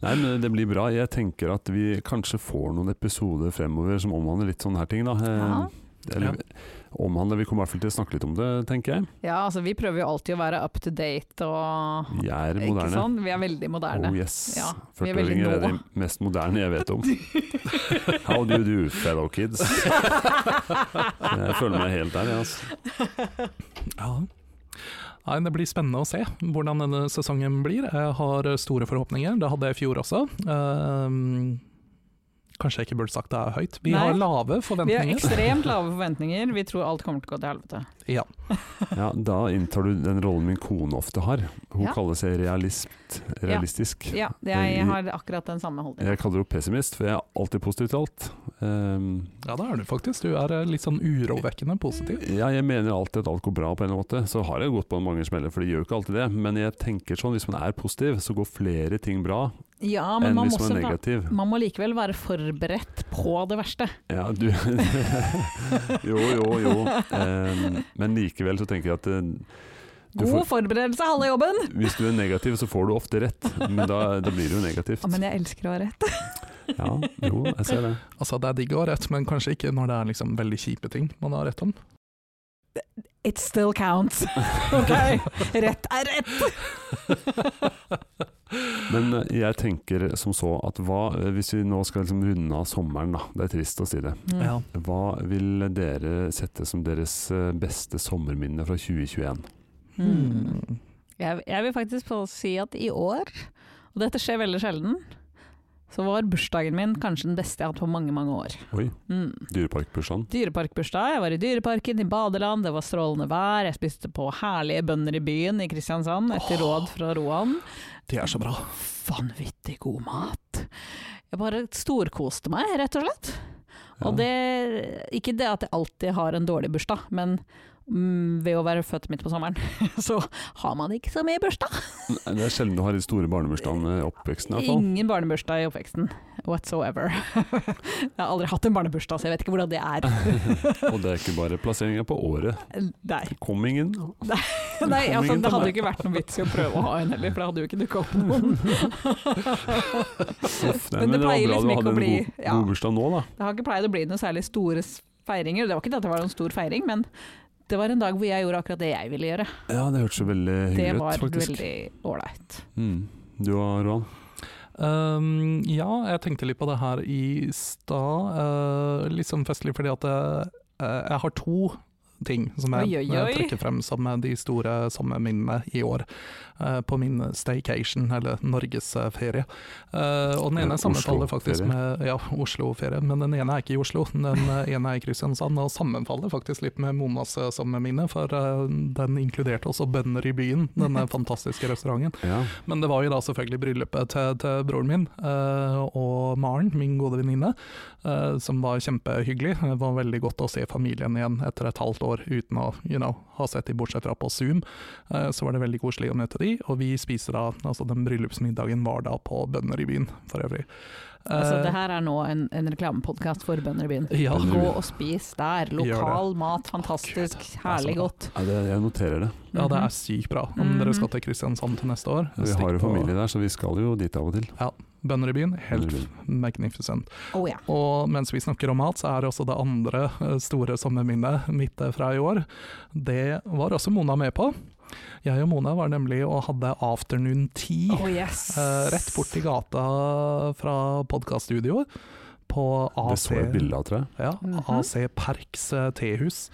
S1: Nei, men det blir bra. Jeg tenker at vi kanskje får noen episoder fremover som omhandler litt sånne her ting, da. Eh,
S2: Ja.
S1: Eller omhandler Vi kommer i hvert fall til å snakke litt om det, tenker jeg.
S2: Ja, altså vi prøver jo alltid å være up to date og
S1: Vi er
S2: Ikke
S1: moderne.
S2: sant? Vi er veldig moderne.
S1: Oh yes.
S2: Ja, vi er veldig
S1: 40-åringer er
S2: nå.
S1: de mest moderne jeg vet om.
S2: [laughs]
S1: How do you do, fellow kids? Jeg føler meg helt der, jeg. Altså.
S3: Ja. Nei, det blir spennende å se hvordan denne sesongen blir. Jeg har store forhåpninger. Det hadde jeg i fjor også. Eh, kanskje jeg ikke burde sagt det er høyt. Vi
S2: Nei.
S3: har lave
S2: Vi har
S3: forventninger.
S2: ekstremt lave forventninger. Vi tror alt kommer til å gå til helvete.
S3: Ja.
S1: Ja, da inntar du den rollen min kone ofte har. Hun
S2: Ja.
S1: kaller seg realist, realistisk. Eh,
S2: Ja, jeg har akkurat den samme holdningen.
S1: Jeg kaller henne pessimist, for jeg er alltid positiv til alt. Ehm,
S3: ja, det er du faktisk. Du er eh, litt sånn urovekkende positiv.
S1: ja, jeg mener alltid at alt går bra på en eller annen måte. Så har jeg gått på mange smeller, for det gjør jo ikke alltid det. Men jeg tenker sånn, hvis man er positiv, så går flere ting bra
S2: Ja, men
S1: enn
S2: man
S1: hvis
S2: må,
S1: man
S2: også,
S1: er
S2: da,
S1: negativ.
S2: man må likevel være forberedt på det verste.
S1: Ja, du [laughs] Jo, jo, jo. Eh, men likevel så tenker jeg at eh, Du
S2: God forberedelse, halve jobben!
S1: hvis du er negativ, så får du ofte rett. Men da, da blir det jo negativt.
S2: Å, men jeg elsker å være rett.
S1: Ja, jo, jeg ser det.
S3: Altså, det er digg å ha rett, men kanskje ikke når det er liksom veldig kjipe ting man har rett om.
S2: [laughs]
S3: [laughs]
S2: It still counts. [laughs] Ok, rett er rett.
S1: Men eh, jeg tenker som så at hva eh, Hvis vi nå skal liksom runde av sommeren, da. Det er trist å si det.
S3: Mm. Ja.
S1: Hva vil dere sette som deres eh, beste sommerminne fra 2021?
S2: Mm. Jeg, jeg vil faktisk få si at i år, og dette skjer veldig sjelden, så var bursdagen min kanskje den beste jeg har hatt på mange, mange år.
S1: Oi,
S2: Mm.
S1: Dyreparkbursdagen.
S2: Dyreparkbursdag. Jeg var i Dyreparken, i badeland, det var strålende vær. Jeg spiste på herlige bønder i byen i Kristiansand, etter råd fra Roan.
S3: De er så bra.
S2: Vanvittig god mat. Jeg bare storkoste meg, rett og slett.
S1: Ja.
S2: Og det Ikke det at jeg alltid har en dårlig bursdag, men mm, ved å være født midt på sommeren, [laughs] så har man ikke så mye bursdag.
S1: Nei, Det er sjelden du har de store barnebursdagene i oppveksten, i hvert fall.
S2: Ingen barnebursdag i oppveksten whatsoever. [laughs] jeg har aldri hatt en barnebursdag, så jeg vet ikke hvordan det er.
S1: [laughs] Og det er ikke bare plasseringa på året.
S2: Nei.
S1: Comingen.
S2: Nei,
S1: Kom
S2: altså,
S1: ingen
S2: det
S1: til
S2: hadde
S1: meg.
S2: jo ikke vært noen vits i å prøve å ha en heller, for det hadde jo ikke dukka opp noen.
S3: [laughs]
S1: Uff, nei,
S2: Men det
S1: men det var
S2: pleier
S1: bra
S2: liksom
S1: du
S2: ikke å
S1: hadde en
S2: bli-
S1: god,
S2: ja.
S1: god bursdag nå, da.
S2: Det har ikke pleid å bli noen særlig store s- feiringer. Det var ikke det at det var noen stor feiring, men det var en dag hvor jeg gjorde akkurat det jeg ville gjøre.
S1: Ja, det hørtes jo veldig
S2: Det
S1: hyggelig ut,
S2: var
S1: faktisk.
S2: veldig ålreit.
S1: Mm. Du og Roan?
S3: Um, ja, jeg tenkte litt på det her i stad. Uh, litt sånn festlig fordi at jeg, eh, jeg har to ting som jeg
S2: Oi, oi,
S3: eh,
S2: oi.
S3: trekker frem som eh, de store sommerminnene i år. eh, på min staycation, eller norgesferie. Uh, og den
S1: Eh,
S3: ene sammenfaller
S1: Oslo-ferie.
S3: faktisk med ja, Oslo-ferie, men den ene er ikke i Oslo. Den eh, ene er i Kristiansand, og sammenfaller faktisk litt med Monas eh, sommerminne, for eh, den inkluderte også bønder i byen,
S2: [laughs]
S3: denne fantastiske restauranten.
S1: Ja.
S3: Men det var jo da selvfølgelig bryllupet til, til broren min eh, og Maren, min gode venninne, eh, som var kjempehyggelig. Det var veldig godt å se familien igjen etter et halvt år uten å you know, ha sett dem bortsett fra på Zoom. Eh, så var det veldig koselig å møte de, og vi spiser da altså Den bryllupsmiddagen var da på Bønder i byen, for øvrig. Eh,
S2: Altså, det her er nå en, en reklamepodkast for bønder i byen.
S3: ja,
S1: Bønder i
S2: Gå
S1: byen.
S2: og spis der.
S3: Gjør det.
S2: Lokal mat, fantastisk, herlig
S3: så bra.
S2: godt.
S1: Nei, det, jeg noterer det.
S3: ja, det er sykt bra. Om
S2: Mhm.
S3: dere skal til Kristiansand til neste år
S1: Vi
S3: stikk
S1: har jo
S3: på
S1: familie der, så vi skal jo dit av og til.
S3: Bønder i byen, helt
S1: Eller-
S3: magnificent.
S2: Oh, ja.
S3: Og mens vi snakker om mat, så er også det andre eh, store sommerminnet mitt eh, fra i år. Det var også Mona med på. Jeg og Mona var nemlig og hadde afternoon tea
S2: Oh, yes.
S3: eh, rett borti gata fra podkaststudioet. På
S1: Det så jeg et
S3: AC,
S1: bilde av, tror jeg.
S3: ja,
S2: Mhm.
S3: AC Parks eh, tehus.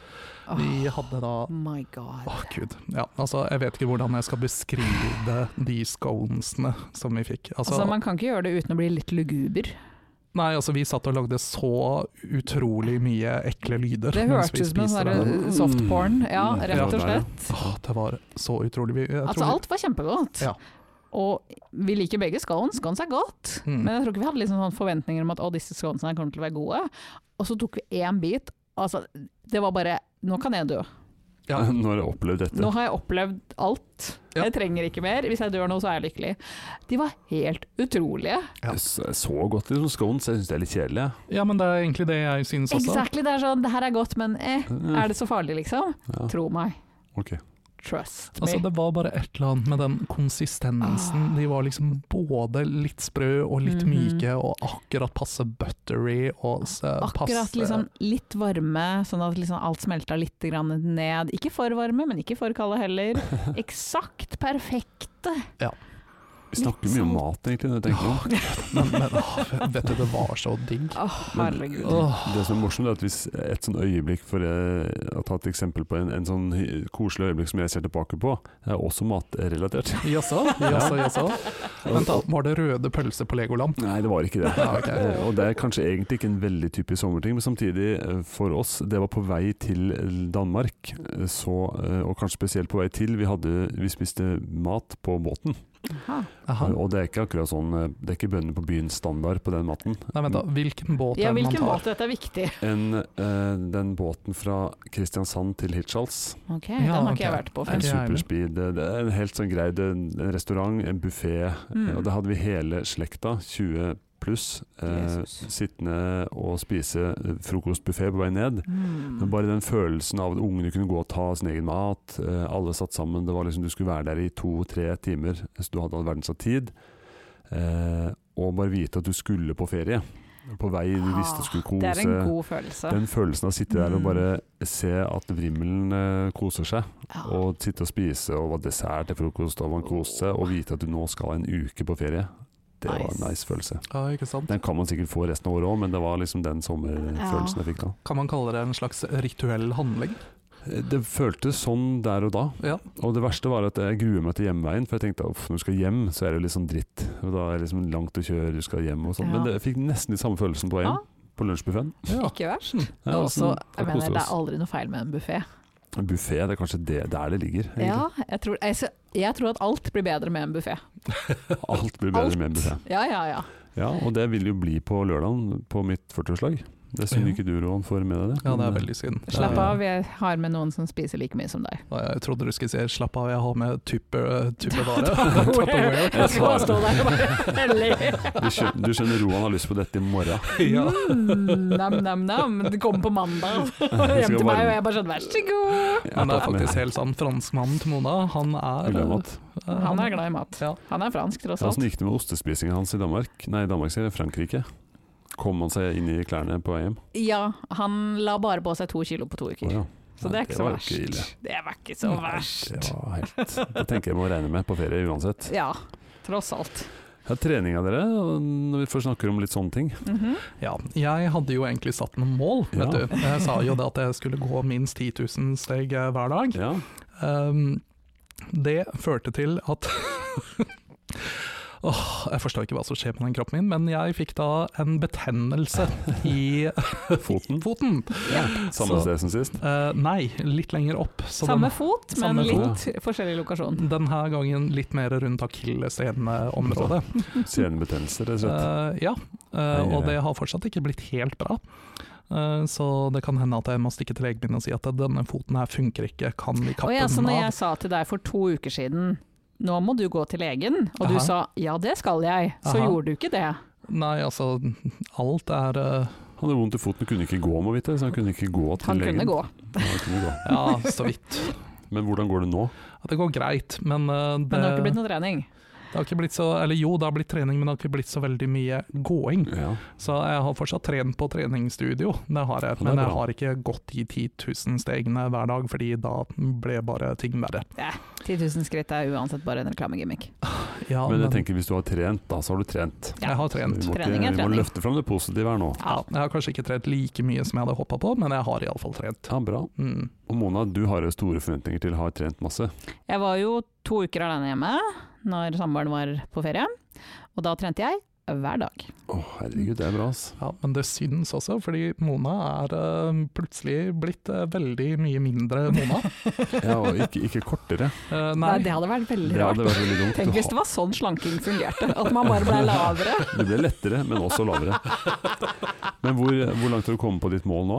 S3: Vi hadde da
S2: oh my god.
S3: Åh, gud. Ja, altså, jeg vet ikke hvordan jeg skal beskrive de sconesene som vi fikk.
S2: Altså, man kan ikke gjøre det uten å bli litt luguber.
S3: Nei, altså vi satt og lagde så utrolig mye ekle lyder.
S2: Det
S3: mens
S2: hørtes ut som
S3: vi
S2: en
S3: spiste
S2: sånn
S3: det.
S1: det.
S2: der softporn, ja,
S1: Mm.
S2: rett og
S1: Ja, der, ja.
S2: slett.
S3: Åh, det var så utrolig mye. Jeg
S2: Altså
S3: tror-
S2: alt var kjempegodt.
S3: Ja.
S2: Og vi liker begge scones, scones er godt.
S3: Mm.
S2: Men jeg tror ikke vi hadde liksom sånn forventninger om at å, disse sconesene her kommer til å være gode. Og så tok vi én bit. Altså, det var bare Nå kan jeg dø.
S1: [laughs]
S3: ja.
S1: Nå har jeg opplevd dette.
S2: Nå har jeg opplevd alt.
S3: Ja.
S2: Jeg trenger ikke mer. Hvis jeg dør nå, så er jeg lykkelig. De var helt utrolige.
S3: Ja.
S1: Det er Så godt liksom scones. Jeg syns det er litt kjedelig. jeg.
S3: ja, men det er egentlig det jeg synes også.
S2: Exactly, det er sånn Det her er godt, men eh,
S3: Mm.
S1: Ja,
S2: er det så farlig, liksom? Tro meg.
S1: ok.
S2: Trust
S3: Altså,
S2: me.
S3: det var bare et eller annet med den konsistensen. De var liksom både litt sprø og litt
S2: Ah. Mhm.
S3: myke, og akkurat passe buttery og s-
S2: Akkurat
S3: passe
S2: liksom litt varme, sånn at liksom alt smelta litt grann ned. Ikke for varme, men ikke for kalde heller.
S1: [laughs]
S2: Eksakt perfekte.
S1: Vi snakker
S2: sånn-
S1: mye om mat, egentlig, når jeg tenker meg om.
S3: [laughs] Men, men åh, vet du, det var så digg.
S2: Åh,
S1: Men-
S2: herregud.
S3: Åh.
S1: Det som er morsomt, er at hvis et sånn øyeblikk for eh, å ta et eksempel på en, en sånn hy- koselig øyeblikk som jeg ser tilbake på, er også matrelatert.
S3: Jaså, jaså, jaså. Vent da, var det røde pølser på Legoland?
S1: Nei, det var ikke det.
S3: [laughs] Ja, ok.
S1: Eh, Og det er kanskje egentlig ikke en veldig typisk sommerting, men samtidig, eh, for oss, det var på vei til eh, Danmark, eh, så, eh, og kanskje spesielt på vei til, vi, hadde, vi spiste mat på båten.
S2: Aha.
S3: Aha.
S1: Og det er ikke akkurat sånn eh, Det er ikke bøndene på byens standard på den maten.
S3: Nei, vent da. Hvilken båt
S2: Ja,
S3: er det man
S2: hvilken
S3: tar?
S2: båt? Dette er viktig.
S1: En, eh, den båten fra Kristiansand til Hirtshals.
S2: Ok,
S3: Ja,
S2: Den har ikke jeg
S3: ok.
S2: vært på
S3: Er
S1: En
S2: før.
S3: det jævlig?
S1: superspeed. Det det er en helt sånn grei det er en en restaurant, en buffé.
S2: Mm.
S1: Og da hadde vi hele slekta, 20 pluss, eh,
S2: Jesus.
S1: sittende og spise frokostbuffé på vei ned. Men
S2: Mm.
S1: bare den følelsen av at ungene kunne gå og ta sin egen mat, eh, alle satt sammen, det var liksom du skulle være der i to-tre timer, så du hadde all verdens av tid. Eh, og bare vite at du skulle på ferie. På vei, du visste du skulle kose.
S2: Ah, Det er en god følelse.
S1: Den følelsen av å sitte der og
S3: Mm.
S1: bare se at vrimmelen eh, koser seg,
S2: Ja.
S1: og sitte og spise og ha dessert til frokost og man koser seg, og vite at du nå skal en uke på ferie, det var en
S2: Nice.
S1: nice følelse.
S3: Ja, ikke sant?
S1: Den kan man sikkert få resten av året òg, men det var liksom den sommerfølelsen jeg fikk da.
S3: Kan man kalle det en slags rituell handling?
S1: Det føltes sånn der og da,
S3: Ja.
S1: og det verste var at jeg gruer meg til hjemveien, for jeg tenkte uff, når du skal hjem, så er det jo litt sånn dritt, og da er det liksom langt å kjøre, du skal hjem og sånn,
S2: Ja.
S1: men det, jeg fikk nesten de samme følelsen på veien,
S2: Ja.
S1: på lunsjbuffeen.
S3: ja.
S2: Ikke verst.
S1: Ja,
S2: Og også,
S1: sånn, da
S2: jeg mener,
S1: koser vi
S2: det
S1: oss.
S2: er aldri noe feil med en buffé.
S1: Buffé, det er kanskje det, der det ligger, egentlig.
S2: Ja, jeg tror, jeg, s- jeg tror at alt blir bedre med en buffé.
S1: Alt blir bedre
S2: Alt.
S1: med en buffé.
S2: Ja, ja, ja.
S1: Ja, og det vil jo bli på lørdagen på mitt 40-årslag. Det er synd
S3: Ja.
S1: ikke du, Roan, får med deg det.
S3: Ja, det er
S1: men,
S3: veldig synd.
S2: Slapp
S1: Ja.
S2: av, jeg har med noen som spiser like mye
S1: [laughs]
S2: som deg.
S3: Ja, Jeg trodde du skulle si 'slapp av, jeg har med type, type [laughs] vare'.
S2: [laughs] Tupperware. Jeg skal bare stå der og [laughs] bare le.
S1: eh, Du skjønner, du skjønner Roan har lyst på dette i morgen.
S3: ja.
S2: Mm, nam, nam, nam. Det kommer på mandag hjem til meg, og jeg bare sånn vær så god.
S3: [laughs] Han er faktisk helt sånn franskmannen til Mona. Han er
S1: Ulemat.
S3: eh,
S2: Han er glad i mat.
S3: Ja.
S2: Han er fransk, tross alt.
S1: Åssen gikk det med ostespisingen hans i Danmark? Nei, Danmark sier jeg, Frankrike. Kom han seg inn i klærne på vei hjem?
S2: Ja, han la bare på seg to kilo på to
S1: Å,
S2: uker.
S1: ja.
S2: Så det
S1: Nei,
S2: er ikke så
S1: var jo
S2: verst.
S1: ille.
S2: Det var ikke så verst.
S1: Det var helt Det tenker jeg må regne med på ferie uansett.
S2: Ja, tross alt.
S1: Ja, treninga dere, og når vi først snakker om litt sånne ting.
S2: Mhm.
S3: Ja, jeg hadde jo egentlig satt noen mål, vet
S1: Ja.
S3: du. Jeg sa jo det at jeg skulle gå minst 10 000 steg eh, hver dag.
S1: Ja,
S3: Ehm, det førte til at [laughs] Åh, jeg forstår ikke hva som skjer med den kroppen min, men jeg fikk da en betennelse i
S2: [laughs]
S1: Foten.
S3: [laughs] foten.
S1: Samme
S3: Så-
S1: sted som sist.
S3: Eh, nei, litt lenger opp. Så
S2: Samme fot, men
S3: Sånn Samme
S2: litt forskjellig lokasjon.
S3: den, denne gangen litt mer rundt akilleshæleområdet.
S1: Senebetennelse, rett og slett.
S3: Uh, ja, eh,
S1: Nei,
S3: og
S1: nei.
S3: det har fortsatt ikke blitt helt bra. Eh, så det kan hende at jeg må stikke til legen min og si at denne foten her funker ikke, kan vi
S2: Og
S3: kappe
S2: ja, så
S3: den
S2: når
S3: av?
S2: jeg sa til deg for to uker siden nå må du gå til legen, og du
S3: Aha.
S2: sa ja, det skal jeg, så
S3: Aha.
S2: gjorde du ikke det.
S3: Nei, altså, alt er eh,
S1: Han hadde vondt i foten, kunne ikke gå, må vite. Så han kunne ikke gå til
S2: Han
S1: legen.
S2: kunne gå.
S1: Ja, han kunne gå.
S3: Ja, så vidt.
S1: Men hvordan går det nå?
S3: Ja, Det går greit, men, eh, det,
S2: Men det har ikke blitt noe trening.
S3: det har ikke blitt så Eller jo, det har blitt trening, men det har ikke blitt så veldig mye gåing.
S1: Ja.
S3: Så jeg har fortsatt trent på treningsstudio, det har jeg,
S1: det er
S3: men jeg
S1: bra.
S3: har ikke gått de 10 000 stegene hver dag, fordi da ble bare ting verre.
S2: 10 000 skritt er uansett bare en reklamegimmick.
S3: Ja,
S1: Men jeg tenker hvis du har trent, da så har du trent.
S3: jeg har trent.
S1: Vi må,
S2: Trening
S1: ikke,
S2: er
S1: vi må
S2: trening.
S1: løfte fram det positive her nå.
S2: Ja.
S3: Jeg har kanskje ikke trent like mye som jeg hadde håpa på, men jeg har iallfall trent.
S1: Ja, bra.
S3: Mm.
S1: Og Mona, du har jo store forventninger til å ha trent masse.
S2: Jeg var jo to uker alene hjemme når samboeren var på ferie, og da trente jeg hver dag.
S1: Å herregud, det er bra, ass.
S3: Ja, men det syns også, fordi Mona er eh, plutselig blitt eh, veldig mye mindre Mona.
S1: [laughs] Ja, og ikke, ikke kortere.
S3: Eh,
S2: Nei,
S3: nei,
S2: det hadde vært veldig
S1: Det
S2: rart.
S1: hadde vært veldig dumt.
S2: Tenk hvis
S1: Du
S2: det var sånn slanking fungerte, at man bare ble lavere.
S1: har- Du ble lettere, men også lavere. Men hvor, hvor langt har du kommet på ditt mål nå?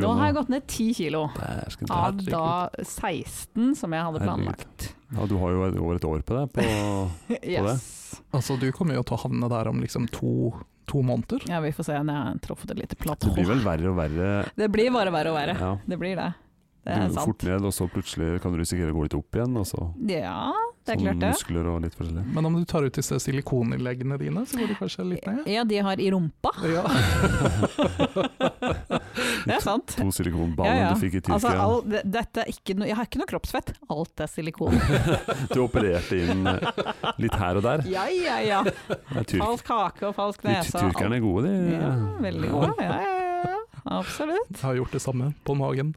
S2: Nå har jeg gått ned 10 kilo,
S1: Dæsken ta.
S2: av da 16 som jeg hadde planlagt.
S1: Ja, du har jo et- over et år på deg. På,
S2: Yes.
S3: altså du kommer jo til å havne der om liksom to, to måneder.
S2: Ja, vi får se når jeg har truffet et lite
S1: det
S2: platå.
S1: blir vel verre og verre.
S2: Det blir bare verre og verre.
S1: Ja.
S2: Det blir det.
S1: Du
S2: Det er
S1: går
S2: sant.
S1: fort ned, og så plutselig kan du risikere å gå litt opp igjen. Og så,
S2: Ja, det er
S1: sånn
S2: klart det.
S1: muskler og litt forskjellig.
S3: Men om du tar ut disse silikoninnleggene dine, så går du kanskje litt ned?
S2: Ja, de har i rumpa.
S3: Ja.
S2: Det er sant.
S1: To silikonballer
S2: Ja, ja.
S1: du fikk i Tyrkia.
S2: Altså, all, det, dette er ikke noe- jeg har ikke noe kroppsfett. Alt
S1: [laughs]
S2: er silikon.
S1: Du opererte inn eh, litt her og der.
S2: Ja, ja, ja.
S1: Det er Tyrk,
S2: Falsk hake og falsk
S1: de
S2: nese. og alt.
S1: tyrkerne er gode, de.
S2: Ja, veldig gode. Ja, ja, ja, ja.
S1: [laughs]
S2: Absolutt. Oh
S3: Jeg har gjort det samme på magen.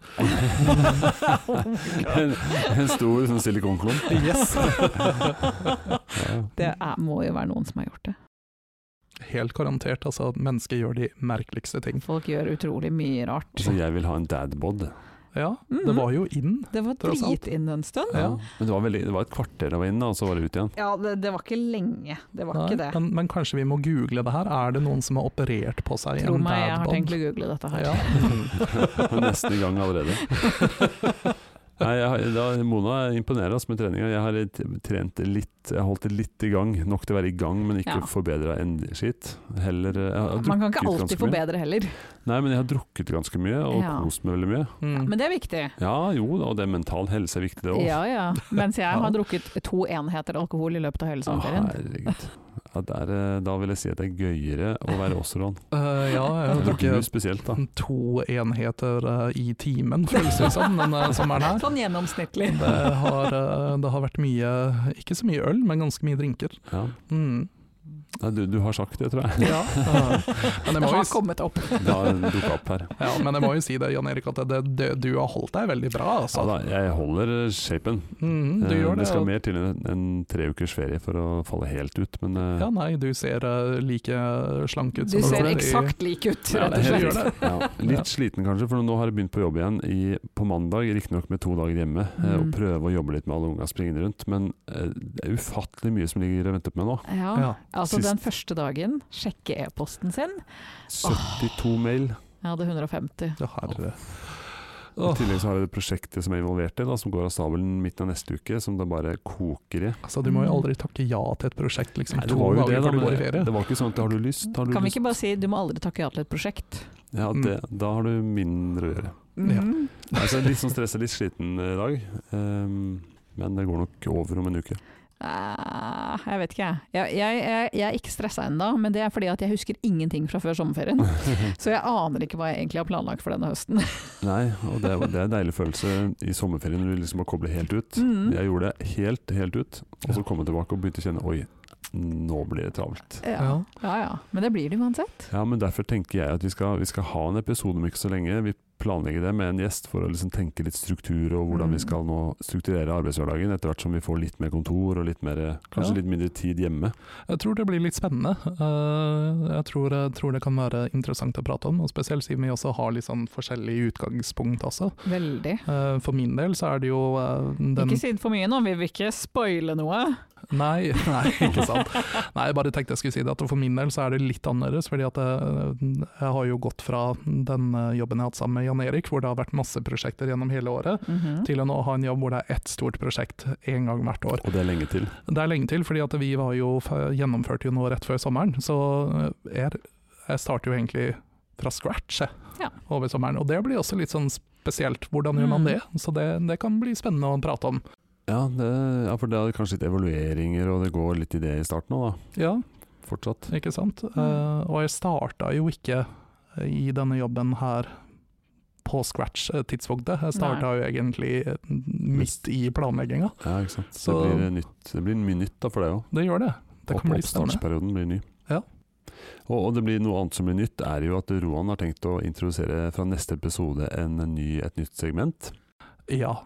S1: En, en stor sånn silikonklump.
S3: Yes!
S1: Ja.
S2: [laughs] Det er, må jo være noen som har gjort det.
S3: Helt garantert, altså. at Mennesker gjør de merkeligste ting.
S2: Folk gjør utrolig mye rart.
S1: Altså, jeg vil ha en dadbod.
S3: Ja,
S2: Mhm.
S3: det var jo inn.
S2: Det var
S3: Tross alt.
S2: dritinn en stund.
S3: Ja.
S1: Men det var, veldig, det var et kvarter jeg var inne, og så var det ut igjen. [laughs]
S2: Ja, det, det var ikke lenge. Det var
S3: Nei,
S2: ikke det.
S3: Men, men kanskje vi må google det her. Er det noen som har operert på seg
S2: Tro
S3: en
S2: meg, jeg har
S3: dad
S2: tenkt
S3: bod?
S2: å google dette her.
S3: Ja.
S1: Nesten i gang allerede.
S2: [laughs]
S1: Nei, jeg, har- da, Mona imponerer oss med treninga. Jeg har t- trent litt, jeg har holdt det litt i gang. Nok til å være i gang, men ikke
S2: Ja.
S1: forbedra en skitt. Heller eh, jeg har
S2: Man kan
S1: drukket
S2: ikke alltid
S1: ganske mye.
S2: forbedre heller.
S1: Nei, men jeg har drukket ganske mye, og
S2: Ja.
S1: kost meg veldig mye.
S3: Mm.
S2: Men det er viktig.
S1: Ja jo, og det er mental helse er viktig, det òg.
S2: Ja, ja. Mens jeg
S3: Ja.
S2: har drukket to enheter alkohol i løpet av hele
S1: Ah,
S2: sommerferien.
S1: herregud. Ja, der, eh, da vil jeg si at det er gøyere å være Osron.
S3: Eh, ja, jeg har
S1: Du
S3: drukket
S1: spesielt, da.
S3: to enheter eh, i timen, føles det som, denne sommeren her.
S2: Sånn gjennomsnittlig.
S3: Det har, eh, det har vært mye, ikke så mye øl, men ganske mye drinker.
S1: Ja.
S3: Mm.
S1: Nei, du, du har sagt det, tror jeg.
S2: [laughs]
S3: Ja. eh, [laughs] Men jeg
S2: Det
S3: må jo
S2: har
S3: s-
S2: kommet opp.
S1: Det har dukka opp her.
S3: Ja, men jeg må jo si det, Jan Erik, at det, det, du har holdt deg veldig bra.
S1: Ja,
S3: Altså.
S1: da, jeg holder eh, shapen.
S3: Mm, du
S1: Eh,
S3: gjør det.
S1: skal
S3: og-
S1: mer til enn en tre ukers ferie for å falle helt ut, men eh,
S3: Ja, nei, du ser eh, like slank ut
S2: Du
S3: som
S2: ser
S3: var i-
S2: eksakt lik ut,
S1: Ja,
S2: rett
S1: det
S2: og
S1: er helt
S2: slett.
S1: riktig. ja,
S3: Ja.
S1: litt sliten kanskje, for nå har jeg begynt på jobb igjen i, på mandag, riktignok med to dager hjemme, eh, og
S2: Mm.
S1: prøve å jobbe litt med alle unga springende rundt, men eh, det er ufattelig mye som ligger og venter på meg nå.
S2: Ja,
S3: Ja.
S2: altså
S1: Sist-
S2: den første dagen, sjekke e-posten sin.
S1: 72 mail.
S2: Jeg hadde 150.
S3: Ja, herre.
S1: I
S3: Åh,
S1: tillegg så har jeg det prosjektet som jeg er involvert i, da, som går av stabelen midten av neste uke, som det bare koker i.
S3: altså, du må jo aldri takke ja til et prosjekt liksom,
S1: Nei, det
S3: to
S1: var jo
S3: dager
S1: det, da,
S3: før du går i
S1: men
S3: ferie.
S1: det var ikke sånn at har du lyst, har du
S2: Kan vi
S1: lyst.
S2: ikke bare si du må aldri takke ja til et prosjekt?
S1: Ja, det, da har du mindre å [laughs] gjøre.
S3: Ja.
S2: Mhm.
S1: Altså, litt sånn stressa, litt sliten i dag. ehm, men det går nok over om en uke.
S2: Eh, Jeg vet ikke, jeg. Jeg, jeg, jeg, jeg er ikke stressa ennå, men det er fordi at jeg husker ingenting fra før
S1: [laughs]
S2: sommerferien. Så jeg aner ikke hva jeg egentlig har planlagt for denne høsten.
S1: Nei, og det, er- det er en deilig følelse i sommerferien når du liksom må koble helt ut.
S2: Mm.
S1: Jeg gjorde det helt, helt ut, og
S3: Ja.
S1: så kom jeg tilbake og begynte å kjenne oi, nå blir det travelt.
S2: Ja.
S3: Ja.
S2: ja ja, men det blir det uansett.
S1: Ja, men derfor tenker jeg at vi skal, vi skal ha en episode om ikke så lenge. Vi planlegger det med en gjest for å liksom tenke litt struktur og hvordan vi
S2: Mm.
S1: skal nå strukturere arbeidshverdagen etter hvert som vi får litt mer kontor og litt mer, kanskje
S3: Ja.
S1: litt mindre tid hjemme.
S3: Jeg tror det blir litt spennende. Eh, jeg tror, jeg tror det kan være interessant å prate om, og spesielt siden vi også har litt sånn forskjellig utgangspunkt også.
S2: Veldig.
S3: Eh, for min del så er det jo eh, den
S2: Ikke si det for mye nå, vi vil ikke spoile noe.
S3: Nei, [laughs] nei, ikke sant. Nei, jeg bare tenkte jeg skulle si det, at for min del så er det litt annerledes, fordi at jeg, jeg har jo gått fra den eh, jobben jeg har hatt sammen med Jan Erik, hvor det har vært masse prosjekter gjennom hele året,
S2: Mhm.
S3: til å nå ha en jobb hvor det er ett stort prosjekt én gang hvert år.
S1: Og det er lenge til.
S3: Det er lenge til, fordi at vi var jo, f- gjennomførte jo noe rett før sommeren, så eh, jeg, jeg starter jo egentlig fra scratch jeg,
S2: Ja.
S3: over sommeren, og det blir også litt sånn spesielt. Hvordan gjør man det? Så det, det kan bli spennende å prate om.
S1: Ja, det, ja, for det er kanskje litt evalueringer, og det går litt i det i starten òg, da.
S3: Ja,
S1: Fortsatt.
S3: Ikke sant?
S2: Mm.
S3: Eh, og jeg starta jo ikke eh, i denne jobben her på scratch-tidspunktet. Jeg starta jo egentlig eh, midt i planlegginga.
S1: Ja, ikke sant.
S3: Så-
S1: det, blir nytt, det blir mye nytt da for deg òg.
S3: Det gjør det. Det kan bli spennende.
S1: Oppstartsperioden blir ny.
S3: Ja.
S1: Og, og det blir noe annet som blir nytt, er jo at Roan har tenkt å introdusere fra neste episode en ny, et nytt segment.
S3: Ja.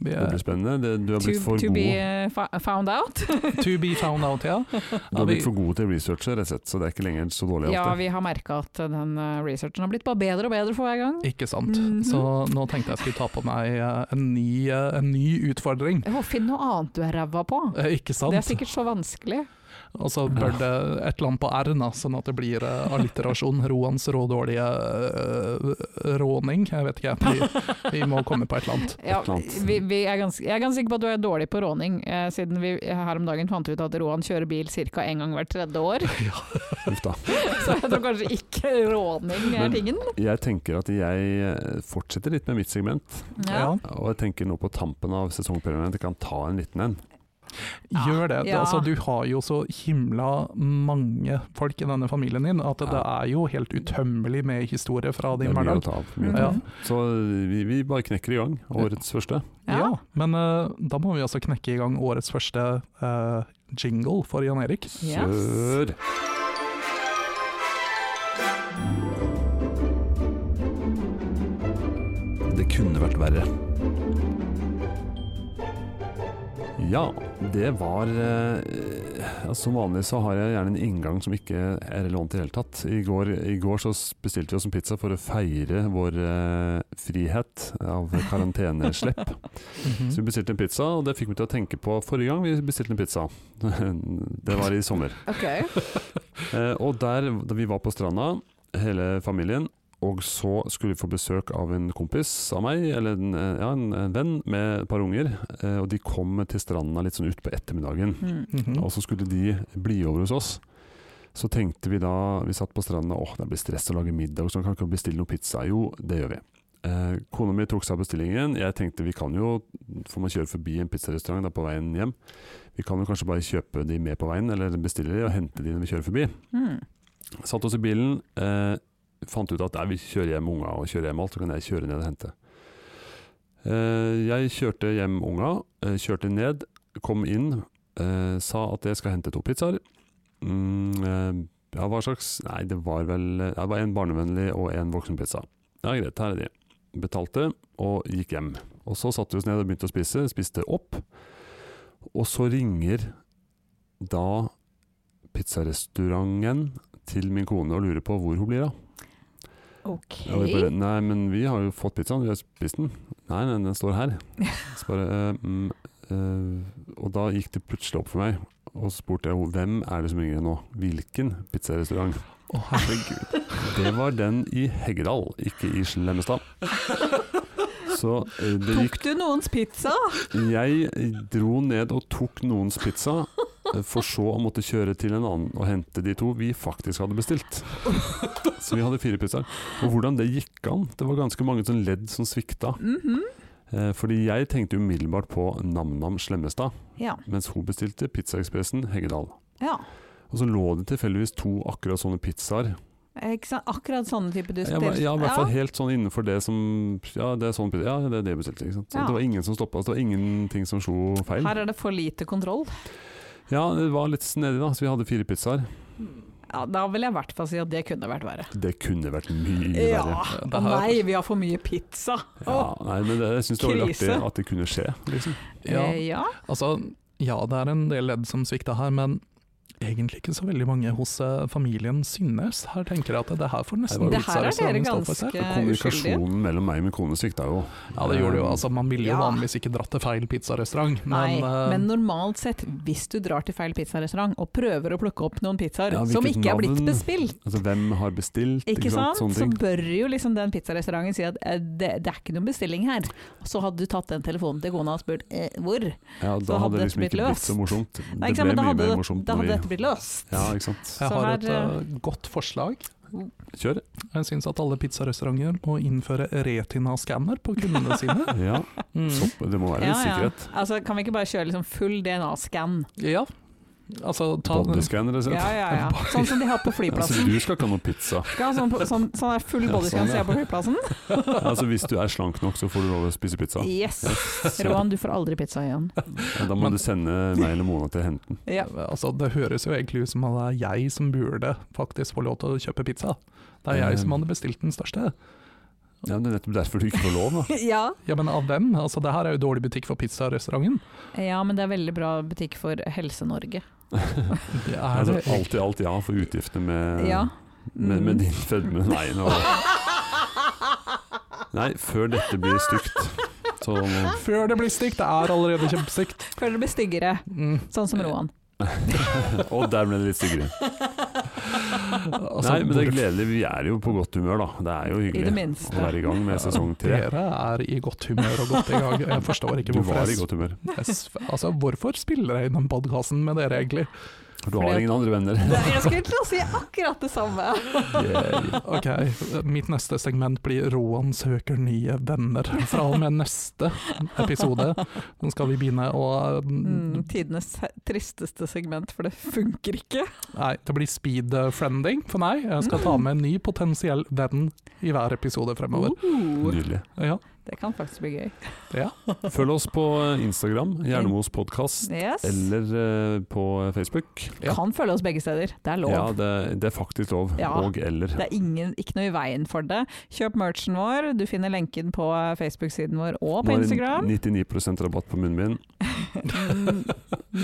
S3: Vi
S1: Det
S3: er-
S1: blir spennende. Det, du har
S2: To,
S1: blitt for
S2: to
S1: god
S2: be eh, fa-
S1: [laughs]
S2: found out.
S3: to be found out, ja.
S1: Du
S3: Ja,
S1: har
S3: vi-
S1: blitt for god til researcher, rett og slett, så det er ikke lenger så dårlig.
S2: Ja,
S1: alltid.
S2: vi har merka at den eh, researchen har blitt bare bedre og bedre for hver gang.
S3: Ikke sant.
S2: Mhm.
S3: Så nå tenkte jeg skulle ta på meg eh, en ny, eh, en ny utfordring.
S2: Å, Finn noe annet du er ræva på.
S3: Eh, Ikke sant?
S2: Det er sikkert så vanskelig.
S3: Og så bør det et eller annet på R-en, da, sånn at det blir eh, alliterasjon. [laughs] Roans rådårlige eh, råning, jeg vet ikke. Vi, vi må komme på et eller annet.
S2: Ja,
S1: Et eller annet.
S2: vi, vi er ganske, jeg er ganske sikker på at du er dårlig på råning, eh, siden vi her om dagen fant ut at Roan kjører bil ca. én gang hvert tredje
S1: [laughs]
S2: år.
S1: Uff da.
S2: Så jeg tror kanskje ikke råning er
S1: Men-
S2: tingen.
S1: Jeg tenker at jeg eh, fortsetter litt med mitt segment,
S2: [laughs] Ja.
S1: og jeg tenker nå på tampen av sesongperioden at jeg kan ta en liten en.
S2: Ja.
S3: Gjør det.
S2: Ja.
S3: Altså, du har jo så himla mange folk i denne familien din at det
S1: Ja.
S3: er jo helt utømmelig med historie fra
S1: Det
S3: din
S1: er mye å
S3: hverdag.
S1: ta av. Mye å ta av.
S3: Ja.
S2: Mhm.
S1: Så vi, vi bare knekker i gang. Årets første.
S2: Ja.
S3: Ja. Men eh, da må vi altså knekke i gang årets første eh, jingle for Jan Erik.
S2: Ja.
S1: Kjør! Det kunne vært verre. Ja, det var eh, ja, Som vanlig så har jeg gjerne en inngang som ikke er relevant i det hele tatt. I går, i går så bestilte vi oss en pizza for å feire vår eh, frihet av karanteneslepp.
S3: Mhm.
S1: Så vi bestilte en pizza, og det fikk meg til å tenke på forrige gang vi bestilte en pizza. [laughs] Det var i sommer.
S2: Ok.
S1: Eh, og der da vi var på stranda, hele familien, og så skulle vi få besøk av en kompis av meg, eller en, eh, ja, en, en venn med et par unger. Eh, og de kom til stranda litt sånn utpå ettermiddagen.
S2: Mm.
S3: Mhm.
S1: Og så skulle de bli over hos oss. Så tenkte vi da vi satt på stranda åh, det blir stress å lage middag, så kan vi ikke bestille noe pizza. Jo, det gjør vi. Eh, kona mi tok seg av bestillingen. Jeg tenkte vi kan jo, får man kjøre forbi en pizzarestaurant da på veien hjem, vi kan jo kanskje bare kjøpe de med på veien, eller bestille de og hente de når vi kjører forbi.
S2: Mm.
S1: Satt oss i bilen, eh, fant ut at nei, vi kjører hjem unga og kjører hjem alt, så kan jeg kjøre ned og hente. Eh, jeg kjørte hjem unga, eh, kjørte ned, kom inn, eh, sa at jeg skal hente to pizzaer. Mm, eh, ja, hva slags? Nei, det var vel eh, det var en barnevennlig og en voksenpizza. Ja, greit, her er de. Betalte og gikk hjem. Og så satte vi oss ned og begynte å spise, spiste opp. Og så ringer da pizzarestauranten til min kone og lurer på hvor hun blir av.
S2: Ok.
S1: Og vi bare, nei, men vi har jo fått pizzaen, vi har spist den. Nei, nei, den står
S3: [laughs]
S1: her. Så bare, eh, mm, eh, og da gikk det plutselig opp for meg, og så spurte jeg henne hvem er det som ringer nå? Hvilken pizzarestaurant?
S3: Å, herregud.
S1: [laughs] Det var den i Heggedal, ikke i Slemmestad. Så eh, det gikk
S2: Tok du noens pizza?
S1: Jeg dro ned og tok noens pizza, eh, for så å måtte kjøre til en annen og hente de to vi faktisk hadde bestilt. Så vi hadde fire pizzaer. Og hvordan det gikk an Det var ganske mange sånn ledd som svikta.
S2: Mhm.
S1: Eh, Fordi jeg tenkte umiddelbart på NamNam Slemmestad,
S2: Ja.
S1: mens hun bestilte Pizzaekspressen Heggedal.
S2: ja.
S1: Og så lå det tilfeldigvis to akkurat sånne pizzaer.
S2: Ikke sant? Akkurat sånne type du
S1: Jeg var,
S2: spiller.
S1: ja, i hvert fall helt sånn innenfor det som Ja, det er sånn pizza. Ja, det er det jeg bestilte. Ikke sant? Så
S2: Ja.
S1: Det var ingen som stoppa oss. Det var ingenting som slo feil.
S2: Her er det for lite kontroll.
S1: Ja, det var litt snedig da, så vi hadde fire pizzaer.
S2: Ja, da vil jeg i hvert fall si at det kunne vært verre.
S1: Det kunne vært mye
S2: Ja.
S1: verre.
S3: Det
S2: Å
S3: her-
S2: nei, vi har for mye pizza!
S1: Ja, nei, men det, jeg syns det var litt artig
S2: Krise.
S1: at det kunne skje. Liksom.
S3: Ja,
S2: Eh, ja.
S3: altså, ja, det er en del ledd som svikta her, men egentlig ikke så veldig mange hos eh, familien Synnes. Her tenker jeg at det her får nesten
S1: Det
S2: her er dere
S3: pizzarestauranten stå for seg.
S2: ganske uskyldige.
S1: Kommunikasjonen mellom meg og min kone svikta jo.
S3: Ja, det gjorde det jo. Altså, man ville jo
S2: Ja.
S3: vanligvis ikke dratt til feil pizzarestaurant, men,
S2: Nei,
S3: eh,
S2: men normalt sett, hvis du drar til feil pizzarestaurant og prøver å plukke opp noen pizzaer
S1: Ja,
S2: som
S1: hvilket
S2: ikke er blitt
S1: navn?
S2: bestilt,
S1: Altså, hvem har bestilt?
S2: ikke sant?
S1: Sånne
S2: så
S1: ting.
S2: bør jo liksom den pizzarestauranten si at eh, det, det er ikke noen bestilling her. Og så hadde du tatt den telefonen til kona og spurt eh, hvor.
S1: Ja, da
S2: hadde
S1: hadde det
S2: dette
S1: liksom
S2: blitt
S1: ikke blitt
S2: løst.
S1: så morsomt. det
S2: Nei, ikke
S1: ble
S2: sant, men da
S1: mye
S2: hadde
S1: mer
S2: det-
S1: morsomt når
S2: Da hadde
S1: vi
S2: dette blitt løst.
S1: Ja, ikke sant.
S3: jeg
S2: så
S3: har
S2: her,
S3: et eh, godt forslag.
S1: Kjør.
S3: Jeg syns at alle pizzarestauranter må innføre retina-skanner på kundene sine.
S2: [laughs]
S1: Ja,
S3: Mm.
S1: sopp. Det må være litt sikkerhet.
S2: Altså, kan vi ikke bare kjøre liksom full DNA-scan?
S3: Ja, altså ta
S1: Bodyscanner, rett og
S2: Ja,
S1: slett.
S2: ja,
S1: [laughs]
S2: ja. Sånn som de har på
S1: Altså,
S2: flyplassen.
S1: du skal ikke ha noe pizza.
S2: Skal ha sånn, på- sånn, sånn der full
S1: Ja,
S2: bodyscan
S1: sånn,
S2: som
S1: ja.
S2: jeg har på flyplassen.
S1: Altså, hvis du er slank nok, så får du lov å spise pizza.
S2: Yes! Roan, du får aldri pizza
S1: [laughs]
S2: igjen.
S1: Ja, Da må
S3: Men-
S1: du sende meg eller Mona til å hente den.
S2: Ja.
S3: Altså, det høres jo egentlig ut som at det er jeg som burde faktisk få lov til å kjøpe pizza. Det
S2: Eh.
S3: er jeg som hadde bestilt den største.
S1: Ja, men det er nettopp derfor du ikke får lov, da.
S2: ja.
S3: Ja, men av hvem? Altså, det her er jo dårlig butikk for pizzarestauranten.
S2: ja, men det er veldig bra butikk for Helse-Norge.
S3: Det er
S1: Altså,
S3: det
S1: alt i alt ja for utgiftene med,
S2: Ja. Mm.
S1: med, med din fedme. Nei, nå. [laughs] Nei, før dette blir stygt. Så
S2: [laughs]
S1: nå-
S3: Før det blir stygt, det er allerede kjempestygt.
S2: Føler det blir styggere,
S3: Mm.
S2: sånn som Roan.
S1: [laughs] Og der ble det litt styggere.
S3: Altså,
S1: Nei, men det er
S3: hvorfor
S1: gledelig. Vi er jo på godt humør, da. Det er jo
S2: I det
S1: hyggelig å
S2: minste.
S1: være i gang med sesong tre.
S3: Dere er i godt humør og godt i gang. Jeg forstår
S1: [laughs]
S3: ikke
S1: Du
S3: hvorfor
S1: var i
S3: jeg,
S1: godt humør.
S3: jeg s- Altså, hvorfor spiller jeg inn den podkasten med dere, egentlig?
S1: Du har ingen andre venner. [laughs]
S2: Jeg skulle til å si akkurat det samme.
S3: Ok, mitt neste segment blir Roan søker nye venner. Fra og med neste episode Nå skal vi begynne å
S2: Mm, tidenes tristeste segment, for det funker ikke.
S3: Nei, det blir speed eh, friending for meg. Jeg skal ta med en ny potensiell venn i hver episode fremover.
S2: Uh,
S1: Nydelig.
S3: Ja,
S2: det kan faktisk bli gøy.
S1: Følg oss på eh, Instagram, Jernemos podkast,
S2: Yes.
S1: eller eh, på Facebook.
S3: ja.
S2: Kan følge oss begge steder. Det er lov.
S1: Ja, det, det er faktisk lov.
S2: Ja.
S1: Og eller.
S2: Det er ingen, ikke noe i veien for det. Kjøp merchen vår. Du finner lenken på Facebook-siden vår og
S1: Nå
S2: på
S1: [laughs] er det
S2: Instagram.
S1: 99 rabatt på munnbind.
S2: Mm,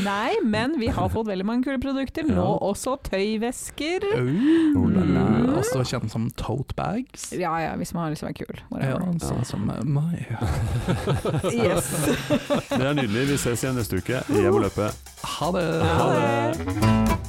S2: Nei, men vi har fått veldig mange kule produkter. Nå
S1: Ja.
S2: også tøyvesker.
S1: Oh la la.
S2: Mm.
S3: Også kjent som tote bags.
S2: Ja ja, hvis man har lyst til å være kul.
S3: Ja,
S2: whatever.
S3: sånn som meg.
S2: Yes.
S1: [laughs] Det er nydelig. Vi ses igjen neste uke i Evoløpet.
S3: Ha det!
S1: Ha det!